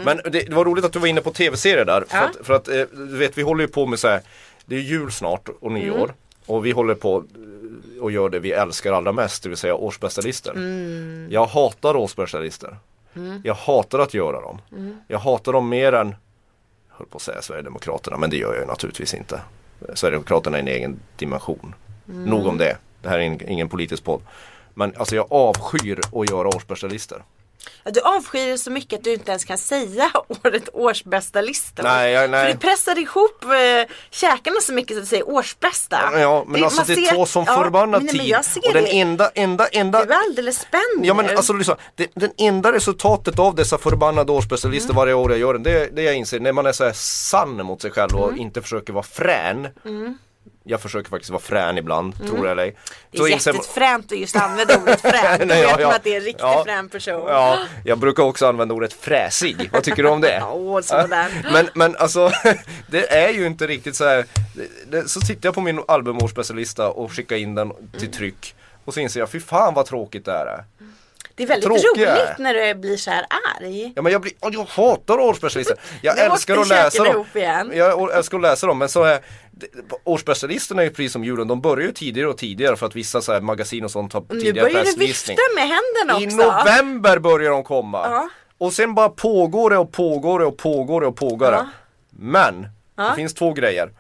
B: Men det, det var roligt att du var inne på tv-serier där. För
A: Mhm. Ja.
B: att, för att eh, du vet vi håller ju på med så här. Det är jul snart och
A: Mm.
B: nyår. Och vi håller på eh, och gör det vi älskar allra mest, det vill säga årsspecialister.
A: Mm.
B: Jag hatar årsspecialister. Jag hatar att göra dem.
A: Mm.
B: Jag hatar dem mer än höll på att säga Sverigedemokraterna, men det gör jag ju naturligtvis inte. Sverigedemokraterna är en egen dimension.
A: Mm.
B: Nog om det. Det här är in- ingen politisk podd. Men alltså jag avskyr att göra årsspecialister.
A: Ja, du avskyr det så mycket att du inte ens kan säga året årsbästa listor.
B: Nej, jag- nej.
A: För du pressar ihop eh, käkarna så mycket så att du säger årsbästa.
B: Ja men alltså
A: man
B: det
A: ser-
B: tar som
A: ja,
B: förbannad
A: men, nej,
B: tid.
A: Men jag ser
B: och den
A: det.
B: enda, enda, enda
A: Du är alldeles spänd
B: Ja men
A: nu.
B: alltså liksom, det, den enda resultatet av dessa förbannade
A: Mm.
B: årsspecialister varje år jag gör den, det, det jag inser när man är så här sann mot sig själv
A: Mm.
B: och inte försöker vara frän. Jag försöker faktiskt vara frän ibland, tror jag eller ej.
A: Mm. Det
B: Då
A: är
B: inser man-
A: jättefränt fränt att just använda ordet fränt. Då
B: Nej,
A: vet
B: ja, ja.
A: man att det är en riktigt
B: Ja.
A: frän person.
B: Ja, jag brukar också använda ordet fräsig. Vad tycker du om det?
A: Åh, sådär.
B: Men, men alltså, det är ju inte riktigt så här. Det, det, så tittar jag på min albumårsspecialista och skickar in den till tryck. Och så inser jag, fy fan vad tråkigt det här är.
A: Det är väldigt
B: Tråkiga.
A: roligt när du blir så här arg.
B: Ja men jag, blir, åh, jag hatar årsspecialister. Jag
A: Nu
B: älskar
A: åkte
B: att läsa
A: köken
B: dem.
A: ihop igen.
B: Jag å- älskar att läsa dem men så är Årsspecialisterna är ju precis som julen, de börjar ju tidigare och tidigare för att vissa så här magasin och sånt har
A: Nu
B: tidigare
A: börjar du
B: pressvisning.
A: vifta med händerna
B: I
A: också.
B: november börjar de komma.
A: Ja.
B: Och sen bara pågår det och pågår det och pågår det och pågår det.
A: Ja.
B: Men,
A: Ja.
B: det finns två grejer.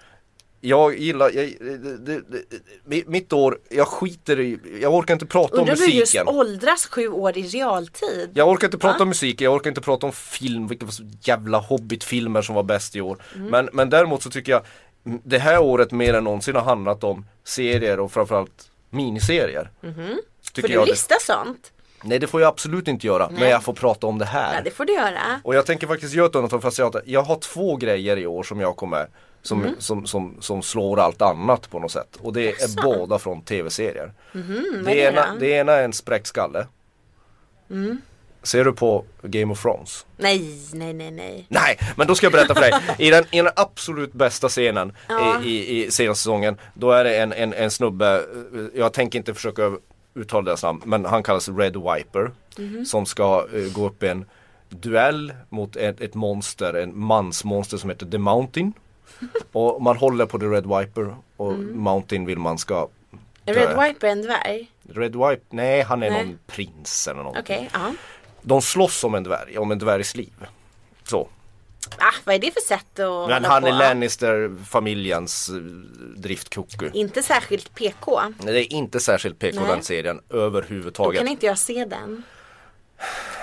B: Jag gillar, jag, det, det, det, mi- mitt år, jag skiter i, jag orkar inte prata om
A: Undrar hur du just
B: musiken.
A: åldras sju år i realtid.
B: Jag orkar inte prata om musik, jag orkar inte prata om film, vilka var så jävla hobbitfilmer som var bäst i år.
A: Mm.
B: Men, men däremot så tycker jag mm, det här året mer än någonsin har handlat om serier och framförallt miniserier.
A: Får
B: Tycker
A: du
B: jag. Det,
A: lista sånt?
B: nej det får jag absolut inte göra, men jag får prata om det här.
A: Ja, det får du göra.
B: Och jag tänker faktiskt göra ett undantag fast jag, jag har två grejer i år som jag kommer som,
A: Mhm.
B: som, som, som slår allt annat på något sätt. Och det är båda från tv-serier.
A: Mhm, vad är
B: det,
A: det Mm.
B: ena,
A: då?
B: det ena är en spräckt skalle. Ser du på Game of Thrones?
A: Nej, nej, nej, nej.
B: Nej, men då ska jag berätta för dig. I den, i den absolut bästa scenen
A: Ja.
B: i, i, i senaste säsongen, då är det en, en, en snubbe, eh, jag tänker inte försöka uttala deras namn, men han kallas Red Wiper.
A: Mhm.
B: Som ska eh, gå upp i en duell mot ett, ett monster, en mansmonster som heter The Mountain. Och man håller på The Red Wiper och
A: Mm.
B: Mountain vill man ska
A: Red
B: dö.
A: Wiper är en dvärg.
B: Red Wiper, nej han är
A: Nej.
B: någon prins eller någonting.
A: Okej, ja.
B: De slåss om en dvärg, om en dvärgs liv. Så.
A: Ah, vad är det för sätt att
B: Men
A: hålla
B: han
A: på?
B: är Lannister-familjens eh, driftkucku.
A: Inte särskilt PK.
B: Det är inte särskilt PK
A: Nej.
B: den serien
A: Då
B: överhuvudtaget.
A: kan inte jag se den.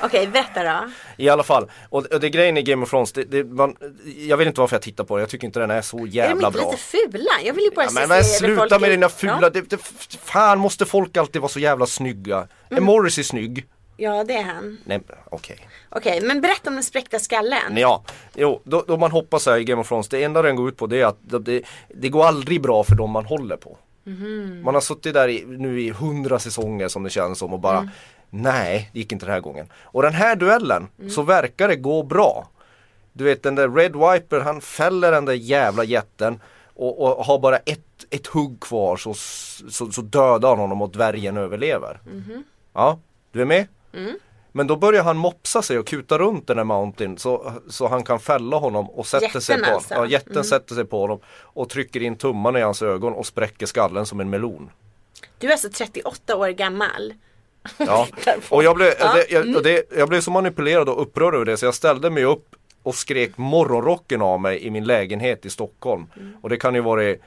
A: Okej, berätta då.
B: I alla fall, och och det grejen i Game of Thrones, det, det, man, jag vet inte varför jag tittar på den, jag tycker inte den är så
A: är de
B: jävla
A: inte
B: bra.
A: lite fula? Jag vill ju bara
B: Ja,
A: se
B: men, men
A: serier där
B: sluta
A: folk
B: med
A: är-
B: dina fula,
A: Ja,
B: det, det, f- fan måste folk alltid vara så jävla snygga? Är
A: Mm.
B: Morris är snygg?
A: ja det är han.
B: Nej, okej.
A: Okej, men berätta om den spräckta skallen.
B: Ja, jo, då, då man hoppar så här i Game of Thrones, det enda den går ut på det är att det- det, det går aldrig bra för dem man håller på. Man har suttit där i, nu i hundra säsonger som det känns som och bara Nej, det gick inte den här gången. Och den här duellen så verkar det gå bra. Du vet den där Red Wiper, han fäller den där jävla jätten och, och har bara ett, ett hugg kvar så, så, så dödar han honom och dvärgen överlever.
A: Mhm.
B: Ja, du är med?
A: Mm.
B: Men då börjar han mopsa sig och kuta runt den här Mountain så, så han kan fälla honom och sätter sig på
A: Jätten
B: honom.
A: alltså?
B: Ja, jätten sätter sig på honom och trycker in tummarna i hans ögon och spräcker skallen som en melon.
A: Du är alltså 38 år gammal.
B: Ja. Och jag blev, det, jag, och det, jag blev så manipulerad och upprörd över det så jag ställde mig upp och skrek morgonrocken av mig i min lägenhet i Stockholm. Och det kan ju vara det,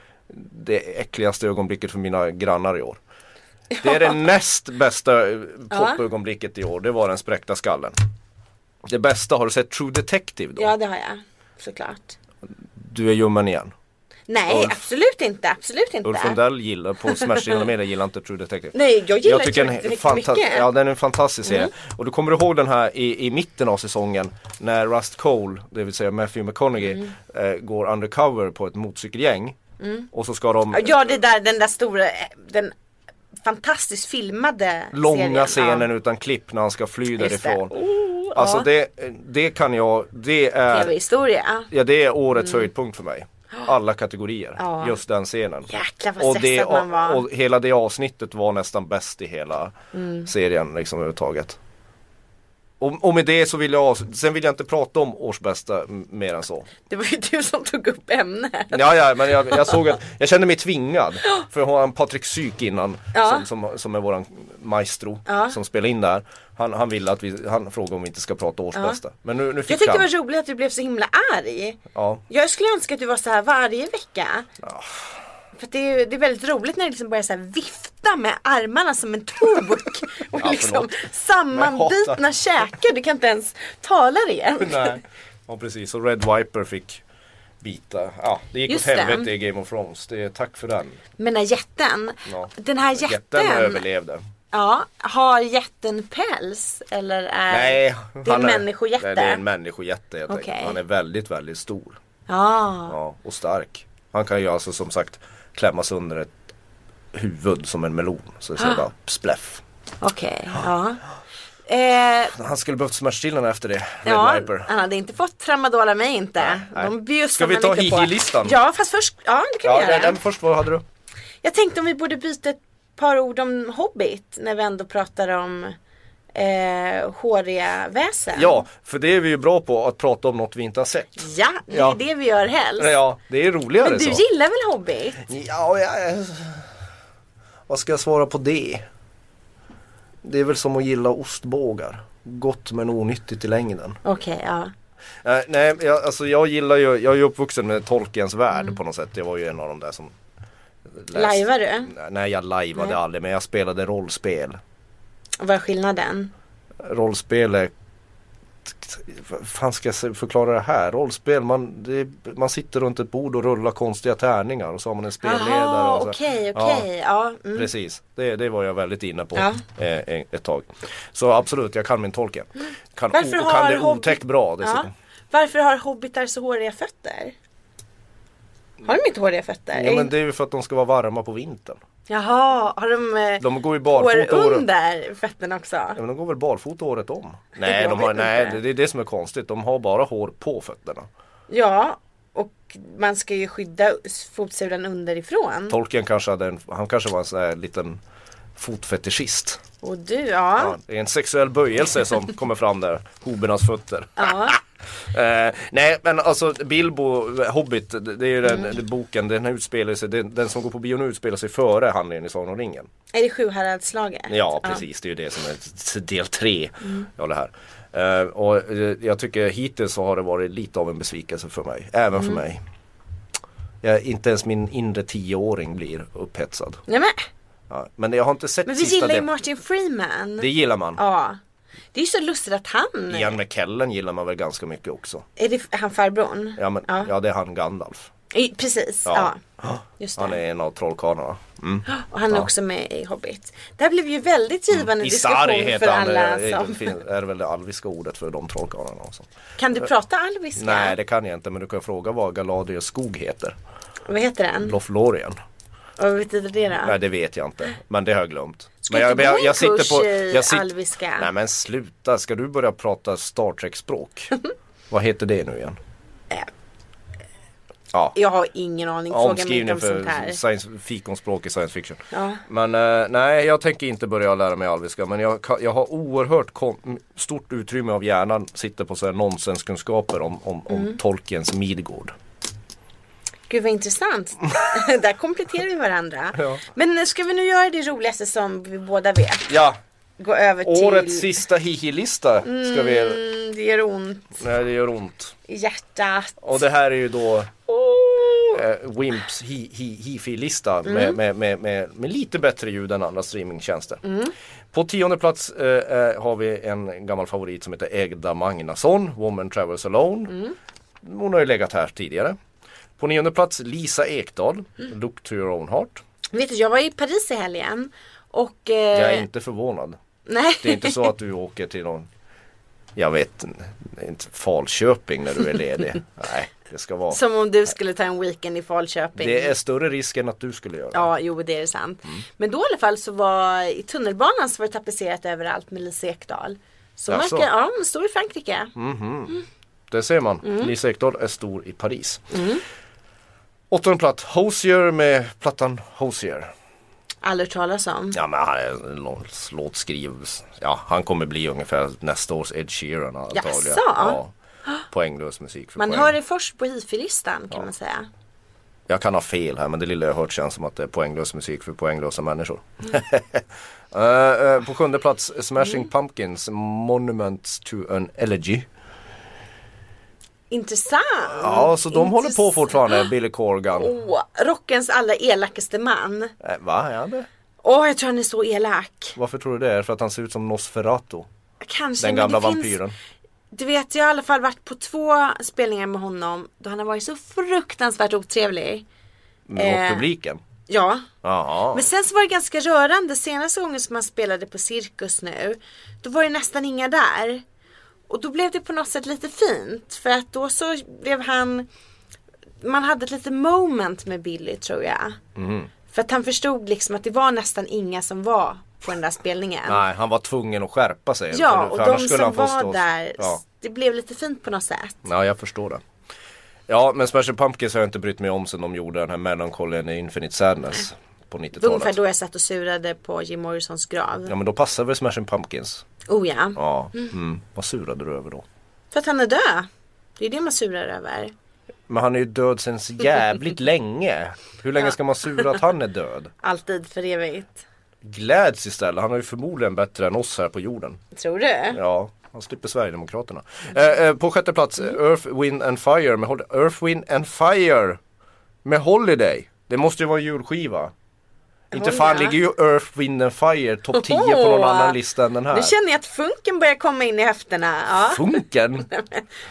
B: det äckligaste ögonblicket för mina grannar i år. Det är det näst bästa eh, popögonblicket i år, det var den spräckta skallen. Det bästa, har du sett True Detective då?
A: Ja, det har jag. Såklart.
B: Du är ljummen igen.
A: Nej,
B: Ulf-
A: absolut inte. Absolut inte.
B: Ulf Lundell gillar, på Smashing Media gillar inte True Detective.
A: Nej, jag gillar True
B: den är
A: Detective
B: fanta-
A: mycket. Mm.
B: Ja, den är en fantastisk serie. Och du kommer ihåg den här i, i mitten av säsongen när Rust Cole, det vill säga Matthew McConaughey,
A: Mm.
B: eh, går undercover på ett motorcykelgäng. Och så ska de
A: Ja, det där, den där stora, den fantastiskt filmade
B: långa
A: serien.
B: scenen utan klipp när han ska fly
A: Just det.
B: därifrån.
A: Oh,
B: Alltså
A: ja.
B: det, det kan jag, det är
A: Tv-historia.
B: Ja det är årets höjdpunkt för mig. Alla kategorier.
A: Mm. Ja.
B: Just den scenen.
A: Jäklar, vad stressad man var.
B: Och hela det avsnittet var nästan bäst i hela
A: Mm.
B: serien liksom överhuvudtaget. Och, och med det så vill jag, avs- sen vill jag inte prata om årsbästa m- mer än så.
A: Det var ju du som tog upp ämnet.
B: Ja, ja men jag, jag såg att, jag kände mig tvingad. För jag har en Patrik Syk innan,
A: Ja.
B: som, som, som är våran maestro
A: Ja.
B: som spelar in där. Han, han ville att vi, han frågade om vi inte ska prata årsbästa. Men nu, nu
A: Jag
B: fick
A: tyckte det
B: han.
A: var roligt att du blev så himla arg.
B: Ja.
A: Jag skulle önska att du var så här varje vecka. För att det är, det är väldigt roligt när du liksom börjar så här vifta med armarna som en tok. Och
B: Ja,
A: liksom
B: förlåt. Men jag
A: sammanbitna
B: hatar-
A: käkar. Du kan inte ens tala rent.
B: Nej, ja precis. Och Red Viper fick bita. Ja, det gick
A: Just
B: åt
A: det.
B: helvete i Game of Thrones. Det, tack för den.
A: Men den här jätten.
B: Ja.
A: Den här jätten.
B: Jätten överlevde.
A: Ja, har jätten päls? Eller är
B: Nej,
A: det en
B: han är-
A: människojätte?
B: Nej, det är en människojätte helt
A: Okej.
B: enkelt. Han är väldigt, väldigt stor.
A: Ja,
B: Ja, och stark. Han kan ju alltså som sagt klämmas under ett huvud som en melon. Så
A: Ah.
B: det ser bara spläff.
A: okej. Ja. Eh,
B: Han skulle behövt smasha till honom efter det. Red
A: ja,
B: Viper.
A: han hade inte fått tramadol av mig inte.
B: Nej, nej.
A: De bjussar
B: Ska vi
A: man
B: ta
A: inte på.
B: hihi-listan?
A: Ja, fast först, ja det kan
B: Ja,
A: vi göra.
B: den, den först, vad hade du?
A: Jag tänkte om vi borde byta ett par ord om Hobbit när vi ändå pratar om eh, håriga väsen.
B: Ja, för det är vi ju bra på att prata om något vi inte har sett.
A: Ja, det är
B: Ja.
A: det vi gör helst.
B: Ja, det är roligare
A: Men du
B: så.
A: gillar väl Hobbit?
B: Ja, jag... Vad ska jag svara på det? Det är väl som att gilla ostbågar. Gott men onyttigt i längden.
A: Okej, ja.
B: Eh, nej, jag, alltså jag gillar ju, jag är ju uppvuxen med Tolkiens värld på något sätt. Jag var ju en av de där som läste-
A: Lajvar du?
B: Nej, jag lajvade
A: Nej.
B: aldrig men jag spelade rollspel.
A: Vad är skillnaden?
B: Rollspel är... Vad fan ska jag se- förklara det här? Rollspel, man, det, är- man sitter runt ett bord och rullar konstiga tärningar och så har man en spelledare.
A: Jaha,
B: och så.
A: okej,
B: Ja.
A: okej. Ja. mm.
B: Precis, det, det var jag väldigt inne på
A: Ja.
B: eh, en- ett tag. Så absolut, jag kan min Tolkien. Kan,
A: Mm. Varför
B: o-
A: har
B: kan det
A: Hobbit-
B: otäckt bra
A: ja.
B: dessutom.
A: Varför har hobbitar så håriga fötter? Har de inte håriga fötter?
B: Ja, men det är ju för att de ska vara varma på vintern.
A: Jaha, har de, eh,
B: De går ju
A: hår
B: barfota året.
A: under fötterna också?
B: Ja, men de går väl barfota året om?
A: Det
B: Nej,
A: går
B: de
A: väl
B: har, nej
A: inte.
B: det, det är det som är konstigt. De har bara hår på fötterna.
A: Ja, och man ska ju skydda fotsulan underifrån.
B: Tolkien kanske hade en, han kanske var en sån här liten fotfetischist.
A: Och du,
B: Ja,
A: ja.
B: det är en sexuell böjelse som kommer fram där. Hobernas fötter.
A: ja.
B: Eh, nej men alltså Bilbo, Hobbit, det det är ju
A: Mm.
B: den, den boken, den här utspelar sig, den, den som går på bio nu utspelar sig före handlingen i Sagan om ringen.
A: Är det Sjuhäradsslaget?
B: Ja precis, det är ju det som är t- del tre
A: Mm.
B: av det här. Eh, och eh, jag tycker hittills så har det varit lite av en besvikelse för mig, även
A: Mm.
B: för mig. Jag, inte ens min inre tioåring blir upphetsad.
A: Ja, men,
B: Ja, men jag har inte sett
A: men vi
B: sista
A: gillar ju
B: delen.
A: Martin Freeman.
B: Det gillar man.
A: Ja. Det är ju så lustigt att han
B: Ian McKellen gillar man väl ganska mycket också.
A: Är det han farbrorn?
B: Ja, men,
A: Ja.
B: ja. det är han Gandalf.
A: I- Precis, ja.
B: Ja.
A: Just det.
B: Han är en av trollkarlarna. Mm.
A: Och han är
B: ja. Mm.
A: också med i Hobbit. Det här blev ju väldigt givande
B: Isari
A: diskussion för
B: heter han, eh,
A: alla
B: det
A: som...
B: fin- är väl det alviska ordet för de trollkarlarna också.
A: Kan du prata alviska?
B: Nej det kan jag inte men du kan fråga vad Galadriels skog heter.
A: Vad heter den?
B: Lothlorien.
A: Ah. Och vad betyder det då?
B: Nej det vet jag inte. Men det har jag glömt.
A: Ska
B: men
A: du inte
B: men
A: gå en kurs i
B: sit-
A: alviska?
B: Nej men sluta, ska du börja prata Star Trek språk? vad heter det nu igen?
A: Eh.
B: Ja.
A: Jag har ingen aning, fråga mig inte
B: Omskrivning
A: om sånt
B: för
A: här.
B: science, fikonspråk i science fiction.
A: Ja.
B: Men eh, nej, jag tänker inte börja lära mig alviska. Men jag, kan- jag har oerhört kon- stort utrymme av hjärnan sitter på så här nonsenskunskaper om, om, om
A: Mm.
B: Tolkiens Midgård.
A: Gud vad intressant. Där kompletterar vi varandra.
B: Ja.
A: Men ska vi nu göra det roligaste som vi båda vet?
B: Ja,
A: Gå över till...
B: årets sista hihi-lista ska vi...
A: Mm, det gör ont
B: Nej, det gör ont.
A: i hjärtat.
B: Och det här är ju då
A: Åh!
B: eh, Wimps hi- hi- hifi-lista med, med, med, med, med lite bättre ljud än andra streamingtjänster. På tionde plats eh, eh, har vi en gammal favorit som heter Egda Magnusson, Woman Travels Alone. Hon har ju legat här tidigare. På nionde plats Lisa Ekdahl, Look to your own heart.
A: Vet du, jag var i Paris i helgen. Och... Eh,
B: Jag är inte förvånad.
A: Nej.
B: Det är inte så att du åker till någon jag vet inte, Falköping när du är ledig. Nej, det ska vara.
A: Som om du skulle ta en weekend i Falköping.
B: Det är Mm. större risk än att du skulle göra.
A: Ja, jo det är sant. Men då i alla fall så var i tunnelbanan så var det tapetserat överallt med Lisa Ekdahl. Så
B: Jaså? Mm.
A: märker, ja, hon står i Frankrike.
B: Det ser man.
A: Mm.
B: Lisa Ekdahl är stor i Paris. Åttonde plats, Hosier med plattan Hosier.
A: Aldrig hört talas om. Ja.
B: Ja men han är en lång- låtskriv... Ja, han kommer bli ungefär nästa års Ed Sheeran antagligen.
A: Jaså?
B: Ja, poänglös musik för
A: Man
B: poäng.
A: hör det först på hifi-listan kan man säga.
B: Jag kan ha fel här men det lilla jag hört känns som att det är poänglös musik för poänglösa människor.
A: Mm.
B: Eh, eh, på sjunde plats Smashing Pumpkins Monuments to an
A: Mm.
B: Elegy.
A: Intressant!
B: Ja så de håller på
A: Intress-
B: fortfarande Billy Corgan.
A: Åh, rockens allra elakaste man.
B: Eh, va, är han det?
A: Åh, jag tror han är så elak.
B: Varför tror du det? Är det För att han ser ut som Nosferatu?
A: Kanske,
B: Den
A: men
B: gamla
A: det finns-
B: vampyren.
A: Du vet, jag har i alla fall varit på två spelningar med honom då han har varit så fruktansvärt otrevlig.
B: Med
A: eh,
B: publiken.
A: Ja,
B: Jaha.
A: men sen så var det ganska rörande. Senaste gången som han spelade på Cirkus nu, då var det nästan inga där. Och då blev det på något sätt lite fint för att då så blev han, man hade ett litet moment med Billy tror jag.
B: Mhm.
A: För att han förstod liksom att det var nästan inga som var på den där spelningen.
B: Nej, han var tvungen att skärpa sig.
A: Ja, och
B: annars
A: de
B: skulle
A: som
B: han få
A: var
B: stå-
A: där,
B: Ja. Mm,
A: det blev lite fint på något sätt.
B: ja, jag förstår det. Ja, men Smashing Pumpkins har jag inte brytt mig om sen de gjorde den här Melancholy and Infinite Sadness. på
A: Det var Mm. ungefär
B: 90-talet.
A: då jag satt och surade på Jim Morrisons grav.
B: Ja men då passar väl Smashing Pumpkins.
A: Oh ja.
B: Ja, mm. vad surade du över då?
A: För att han är död. Det är det man surar över.
B: Men han är ju död sedan så jävligt länge. Hur länge ska man sura att han är död?
A: Alltid för evigt.
B: Gläds istället, han har ju förmodligen bättre än oss här på jorden.
A: Tror du?
B: Ja, han slipper Sverigedemokraterna. Eh, eh, på sjätte plats, eh, Earth, Wind and Fire med Hol- Earth, Wind and Fire med Holiday. Det måste ju vara en julskiva. Inte
A: Oj,
B: fan
A: ja.
B: ligger ju Earth, Wind and Fire topp 10 på någon
A: Oho.
B: annan lista än den här.
A: Nu känner jag att funken börjar komma in i höfterna. Ja.
B: Funken!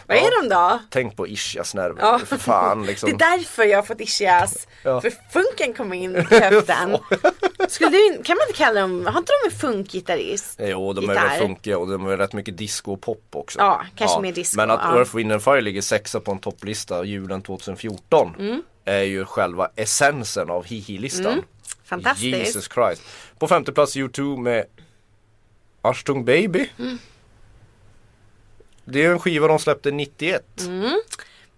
A: Vad
B: Ja.
A: är de då?
B: Tänk på ischiasnerver,
A: Ja.
B: för fan liksom.
A: Det är därför jag har fått ischias.
B: Ja.
A: För funken kom in i höften. Skulle du, kan man inte kalla dem, har inte de en funkgitarrist?
B: Eh, Jo, de är
A: Gitarr.
B: väl funkiga och de är rätt mycket disco och pop också.
A: Ja, kanske mer disco,
B: Men att
A: ja.
B: Earth, Wind and Fire ligger sexa på en topplista julen 2014
A: Mm.
B: är ju själva essensen av hihi-listan.
A: Fantastiskt.
B: Jesus Christ. På femte plats U2 med Ashtung Baby.
A: Mm.
B: Det är ju en skiva de släppte 91.
A: Mm.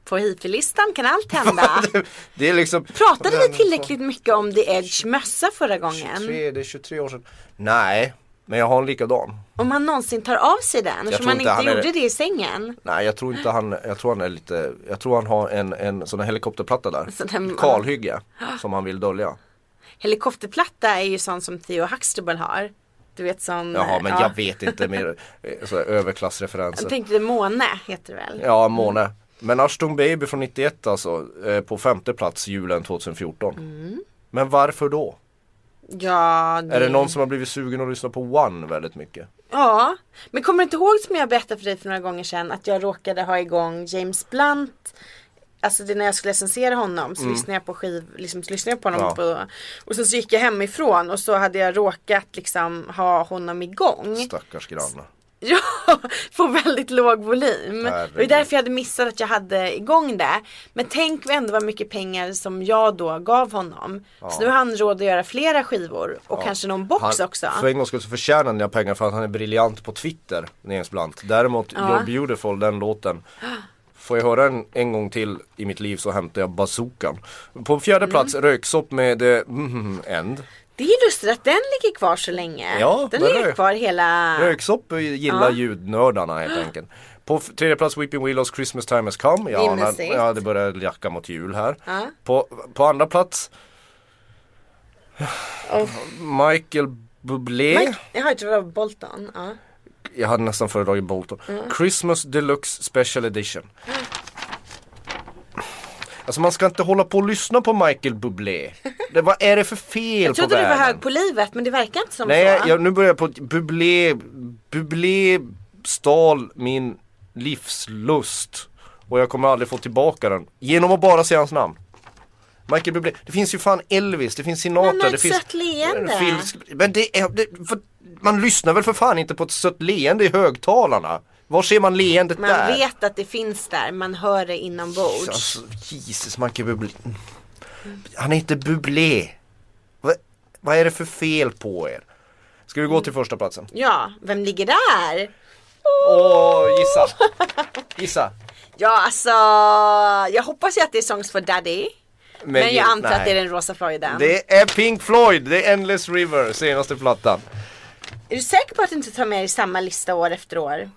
A: På hifi-listan kan allt hända.
B: Det är liksom
A: Pratade vi tillräckligt mycket om The Edge mössa förra gången?
B: 23, det är 23 år sedan. Nej, men jag har en likadan.
A: Om han någonsin tar av sig den? Eftersom
B: tror
A: han
B: inte
A: inte
B: han är-
A: gjorde det i sängen.
B: Nej jag tror inte han, jag tror han är lite, jag tror han har en, en sån här helikopterplatta där.
A: Sån där-
B: Kalhygge som han vill dölja.
A: Helikopterplatta är ju sån som Theo Huxtable har. Du vet sån...
B: Jaha men
A: ja.
B: jag vet inte mer eh, så här, överklassreferenser.
A: Jag tänkte Måne heter det väl?
B: Ja Måne. Men Ashton Baby från 91 alltså eh, på femte plats julen 2014. Men varför då?
A: Ja, det...
B: Är det någon som har blivit sugen att lyssna på One väldigt mycket?
A: Ja, men kommer du inte ihåg som jag berättade för dig för några gånger sedan att jag råkade ha igång James Blunt Alltså det när jag skulle recensera honom så lyssnade jag på skiv, liksom, så lyssnade jag på honom
B: Mm. Ja.
A: på, och sen så gick jag hemifrån och så hade jag råkat liksom ha honom igång.
B: Stackars grannar.
A: Ja, på väldigt låg volym.
B: Herregud.
A: Det var ju därför jag hade missat att jag hade igång det. Men tänk ändå vad mycket pengar som jag då gav honom. Så nu har han råd att göra flera skivor och kanske någon box
B: Han,
A: också.
B: För en gång skulle så förtjänar ni pengar för att han är briljant på Twitter, James Blunt. Däremot You're Beautiful, den låten. Får jag höra en, en gång till i mitt liv så hämtar jag bazookan. På fjärde plats Röksopp med eh, mm, End.
A: Det är lustigt att den ligger kvar så länge.
B: Ja,
A: den
B: men
A: ligger
B: rök-
A: kvar hela...
B: Röksopp gillar ljudnördarna helt enkelt. På f- tredje plats Weeping Willows Christmas time has come.
A: Det är
B: Ja, när-
A: mysigt.
B: ja det börjar jacka mot jul här.
A: Ja.
B: På, på andra plats
A: Och
B: Michael Bublé.
A: Mike, jag har ju det var Bolton. Ja.
B: Jag hade nästan föredragit Bolton. Christmas Deluxe Special Edition. Alltså man ska inte hålla på och lyssna på Michael Bublé. Det, vad är det för fel
A: Jag
B: på
A: trodde du var
B: världen?
A: hög på livet men det verkar inte som
B: Nej,
A: så.
B: jag, nu börjar jag på Bublé, Bublé stal min livslust och jag kommer aldrig få tillbaka den genom att bara säga hans namn. Michael Bublé, det finns ju fan Elvis, det finns Sinatra,
A: Men han har
B: det
A: ett
B: finns...
A: sött leende.
B: Phil- men det är, det, för, man lyssnar väl för fan inte på ett sött leende i högtalarna? Var ser man leendet
A: Man
B: där?
A: vet att det finns där, man hör det inombords.
B: Alltså, Jesus, Michael Bublé. Han är inte Bublé. Vad, vad är det för fel på er? Ska vi gå till första platsen?
A: Ja, vem ligger där?
B: Åh, gissa! Gissa!
A: Ja, alltså jag hoppas ju att det är Songs for Daddy. Men, jag antar att det är den rosa Floriden.
B: Det är Pink Floyd, det är Endless River, senaste plattan.
A: Är du säker på att du inte tar med dig samma lista år efter år?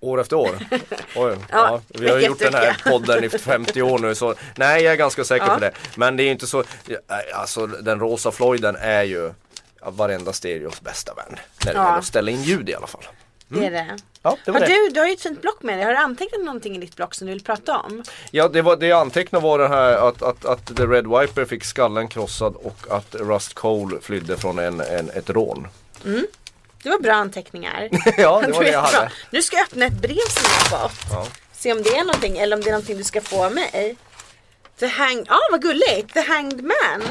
B: År efter år. Oj, ja, vi har
A: vecka
B: gjort
A: efter
B: den här
A: vecka.
B: podden i 50 år nu så nej jag är ganska säker
A: Ja.
B: på det. Men det är ju inte så, alltså den rosa Floyden är ju varenda stereos bästa vän. När det
A: Ja.
B: gäller att ställa in ljud i alla fall.
A: Det är det.
B: Mm. Ja, det var
A: Har
B: det.
A: du, du har ju ett fint block med dig. Har du antecknat någonting i ditt block som du vill prata om?
B: Ja, det, var, det jag antecknade var det här att, att, att The Red Wiper fick skallen krossad och att Rust Cole flydde från en, en, ett rån.
A: Det var bra anteckningar.
B: ja, det var det jag
A: Bra.
B: hade.
A: Nu ska jag öppna ett brev som jag har fått.
B: Ja.
A: Se om det är någonting eller om det är någonting du ska få av mig. The hang... Ja, vad gulligt! The hanged man.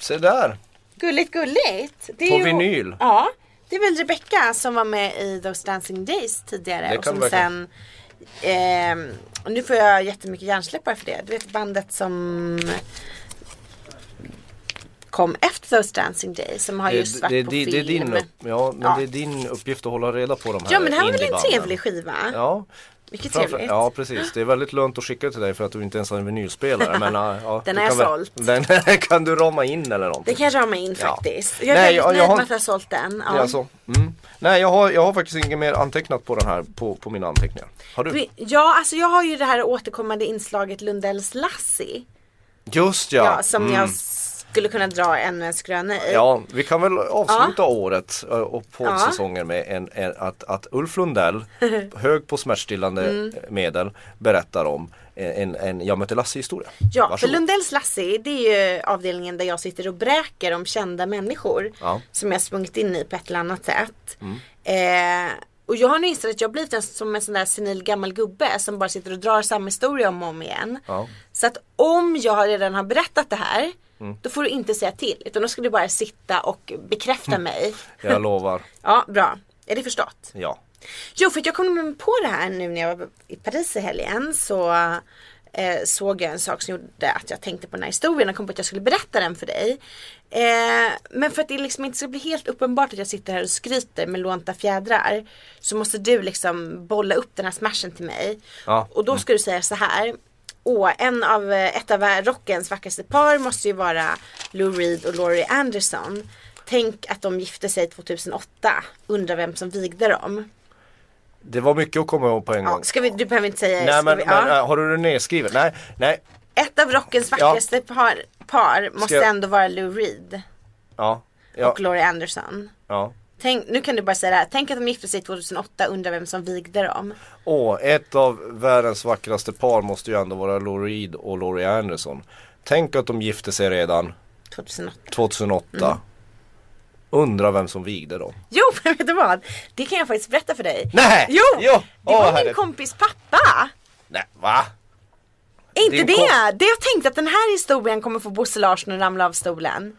B: Se där!
A: Gulligt, gulligt. Det är
B: På vinyl.
A: Ja. Det är väl Rebecca som var med i Those Dancing Days tidigare.
B: Det
A: och
B: kan
A: som
B: det
A: sen...
B: verkligen.
A: ehm, och nu får jag jättemycket hjärnsläppar för det. Du vet bandet som kom efter Those Dancing Days som har just varit
B: det,
A: på
B: det,
A: film.
B: det, är din upp, ja, men
A: Ja.
B: det är din uppgift att hålla reda på de här
A: Ja men det här var väl en
B: indiebanden.
A: trevlig skiva?
B: Ja,
A: Mycket
B: Framför-
A: trevligt.
B: Ja precis, det är väldigt lönt att skicka till dig för att du inte ens har en vinylspelare. Men, ja, ja,
A: Den
B: du
A: är
B: kan väl-
A: sålt.
B: Den kan du rama in eller
A: Det
B: någonting.
A: kanske har mig in
B: Ja.
A: faktiskt. Jag är
B: Nej,
A: väldigt
B: jag- jag
A: nöjd
B: har-
A: med att jag har sålt den.
B: Det är alltså, mm. Nej jag har, jag har faktiskt inget mer antecknat på den här, på, på mina anteckningar. Har du?
A: Vi- Ja, alltså jag har ju det här återkommande inslaget Lundells Lassi.
B: Just ja!
A: Ja, som
B: mm.
A: jag skulle kunna dra ännu en skröna i.
B: Ja, vi kan väl avsluta året eh, och poddsäsongen med en, en, att, att Ulf Lundell, hög på smärtstillande
A: Mm.
B: eh, medel, berättar om en, en Jag mötte Lasse-historia.
A: Ja, för
B: Varsågod.
A: Lundells Lassi det är ju avdelningen där jag sitter och bräker om kända människor.
B: Ja. Mm.
A: Som jag sprungit in i på ett eller annat sätt. Eh, och jag har nu insett att jag har blivit en, som en sån där senil gammal gubbe som bara sitter och drar samma historia om och om igen.
B: Ja.
A: Så att om jag redan har berättat det här
B: Mm.
A: då får du inte säga till utan då ska du bara sitta och
B: Mm.
A: bekräfta mig.
B: Jag lovar,
A: Ja, bra. Är det förstått?
B: ja.
A: Jo, för att jag kom på det här nu när jag var i Paris i helgen så eh, såg jag en sak som gjorde att jag tänkte på den här historien och kom på att jag skulle berätta den för dig. Eh, men för att det liksom inte ska bli helt uppenbart att jag sitter här och skryter med lånta fjädrar så måste du liksom bolla upp den här smashen till mig.
B: Ja.
A: Och då ska du säga så här. Åh, en av, eh, ett av rockens vackraste par måste ju vara Lou Reed och Laurie Anderson. Tänk att de gifte sig 2008. Undrar vem som vigde dem.
B: Det var mycket att komma ihåg på en
A: Ja,
B: gång.
A: ska vi, du behöver inte säga ska
B: Nej men,
A: vi, ja.
B: men eh, har du det nedskrivet? Nej, nej.
A: Ett av rockens vackraste par, par måste
B: jag-
A: ändå vara Lou Reed
B: Ja, ja,
A: och Laurie Anderson.
B: ja.
A: Tänk, nu kan du bara säga det här. Tänk att de gifte sig 2008, undrar vem som vigde dem.
B: Åh, ett av världens vackraste par måste ju ändå vara Laurie Reed och Laurie Anderson. Tänk att de gifte sig redan
A: 2008.
B: 2008.
A: Mm.
B: Undra vem som vigde dem.
A: Jo, men vet du vad? Det kan jag faktiskt berätta för dig.
B: Nej!
A: Jo!
B: Jo!
A: Det
B: Åh,
A: var min
B: herregud.
A: kompis pappa.
B: Nej, va?
A: Är inte
B: Din
A: det?
B: kom-
A: Det jag tänkte att den här historien kommer få Bosse Larsson att ramla av stolen.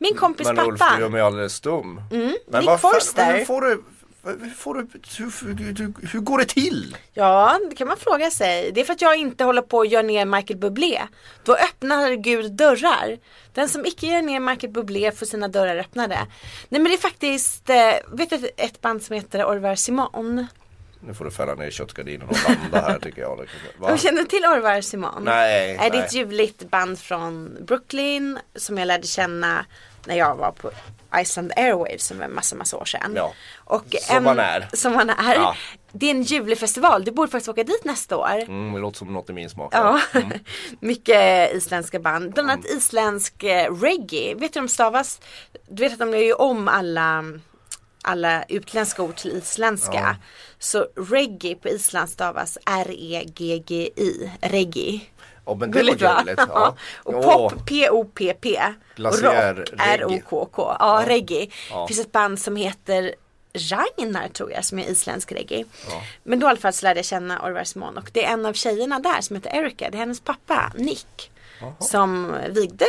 A: Min kompis
B: Men
A: pappa. Mm,
B: Ulf, du gör mig alldeles stum. Men
A: Nick
B: vad fan-
A: Forster.
B: men Hur får du... Hur, får du hur, hur, hur, hur går det till?
A: Ja, det kan man fråga sig. Det är för att jag inte håller på att göra ner Michael Bublé. Då öppnar Gud dörrar. Den som icke gör ner Michael Bublé får sina dörrar öppnade. Nej men det är faktiskt, eh, vet du ett band som heter Orvar Simon?
B: Nu får du fälla ner köttgardinen och landa här tycker jag. liksom. Va?
A: Du känner till Orvar Simon?
B: Nej,
A: Är det
B: nej.
A: ett ljuvligt band från Brooklyn som jag lärde känna när jag var på Iceland Airwaves som var en massa, massa år sedan.
B: Ja.
A: Och
B: Som
A: en-
B: man är.
A: Som man är.
B: Ja.
A: Det är en ljuvlig festival. Du borde faktiskt åka dit nästa år.
B: Mm, det låter som något i min smak.
A: Ja, mycket isländska band. Bland annat isländsk eh, reggae. Vet du hur de stavas? Du vet att de gör ju om alla, alla utländska ord till isländska. Så reggae på Island stavas E R-E-G-G-I. Reggae.
B: Ja, men det
A: Gulligt
B: var
A: va?
B: gulligt.
A: Ja.
B: Ja.
A: Och
B: Åh,
A: pop, P-O-P-P. Och
B: Glaciär
A: rock,
B: reggae.
A: R-O-K-K. Ja, reggae.
B: Ja.
A: Det finns ett band som heter Ragnar tror jag som är isländsk reggae. Men då i alla fall så lärde jag känna Orvar Simon och det är en av tjejerna där som heter Erica. Det är hennes pappa Nick. Som vigde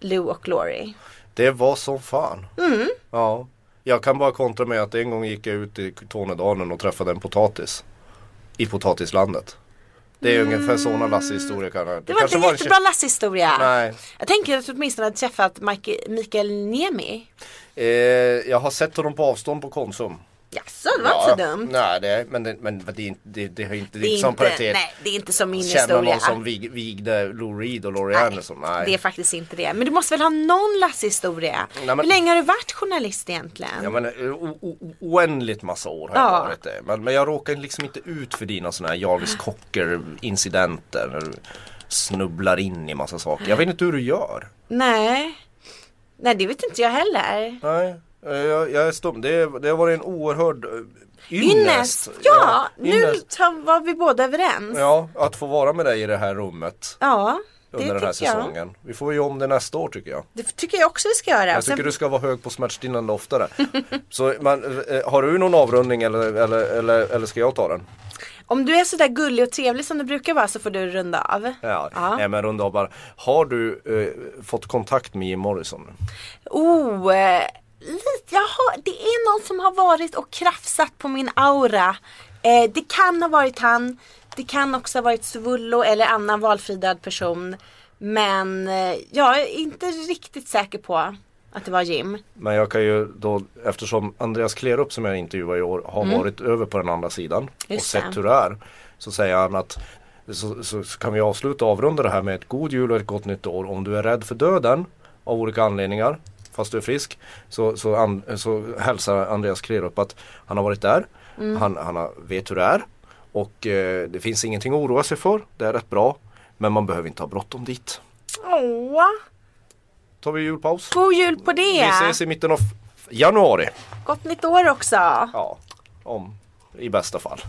A: Lou och Laurie.
B: Det var som fan.
A: Mm.
B: Ja. Jag kan bara kontra med att en gång gick jag ut i Tornedalen och träffade en potatis. I potatislandet. Det är ungefär sådana Lasse-historier kan jag.
A: Det var inte en jättebra Lasse-historia.
B: Nej.
A: Jag tänker att du åtminstone hade träffat Mike, Mikael Niemi.
B: Eh, jag har sett honom på avstånd på Konsum.
A: Jaså, det var inte så dumt.
B: Nej, det, men, det, men det, är inte- det, det, har inte, det
A: Det
B: är
A: är,
B: inte som
A: inte,
B: paritet.
A: nej, det är inte som min
B: Känna
A: historia.
B: någon som vig, vigde Lou Reed och Laurie Anderson. Nej.
A: Det är faktiskt inte det. Men du måste väl ha någon Lasse-historia?
B: Nej, men-
A: Hur länge har du varit journalist egentligen?
B: Ja men eh, o- o- oändligt massa år har jag
A: Ja.
B: varit det. Men, men jag råkar liksom inte ut för dina sådana här Jarvis Cocker incidenter. När du snubblar in i massa saker. Jag vet inte hur du gör.
A: Nej. Nej, det vet inte jag heller.
B: Nej, eh, jag, jag är stum. Det, det har varit en oerhörd eh, ynnest.
A: Ynnest! Ja, nu
B: ynnest.
A: tar- var vi båda överens. Ja,
B: Ja, att få vara med dig i det här rummet
A: det
B: under den här
A: tycker jag.
B: säsongen. Vi får ju om det nästa år tycker jag.
A: Det tycker jag också vi ska göra.
B: Jag
A: Sen-
B: tycker du ska vara hög på smärtstillande oftare. Så man, eh, har du någon avrundning eller, eller, eller, eller ska jag ta den?
A: Om du är sådär gullig och trevlig som du brukar vara så får du runda av.
B: Ja, Nej, men runda av bara. Har du eh, fått kontakt med Jim Morrison?
A: Oh, eh, lite, jag har, det är någon som har varit och krafsat på min aura. Eh, det kan ha varit han. Det kan också ha varit Svullo eller annan valfri död person. Men eh, jag är inte riktigt säker på att det var Jim.
B: Men jag kan ju då, eftersom Andreas Klerup som jag intervjuade i år har varit över på den andra sidan och
A: Mm. Just
B: sett
A: det.
B: hur det är. Så säger han att så, så, så kan vi avsluta och avrunda det här med ett god jul och ett gott nytt år. Om du är rädd för döden av olika anledningar fast du är frisk så, så, an, så hälsar Andreas Krerup att han har varit där.
A: Mm.
B: Han, han har, vet hur det är. Och eh, det finns ingenting att oroa sig för. Det är rätt bra. Men man behöver inte ha bråttom dit.
A: Åh,
B: Tar vi julpaus.
A: god jul på
B: Vi
A: det!
B: ses i mitten av f- januari.
A: Gott nytt år också! Mm.
B: Ja, om i bästa fall.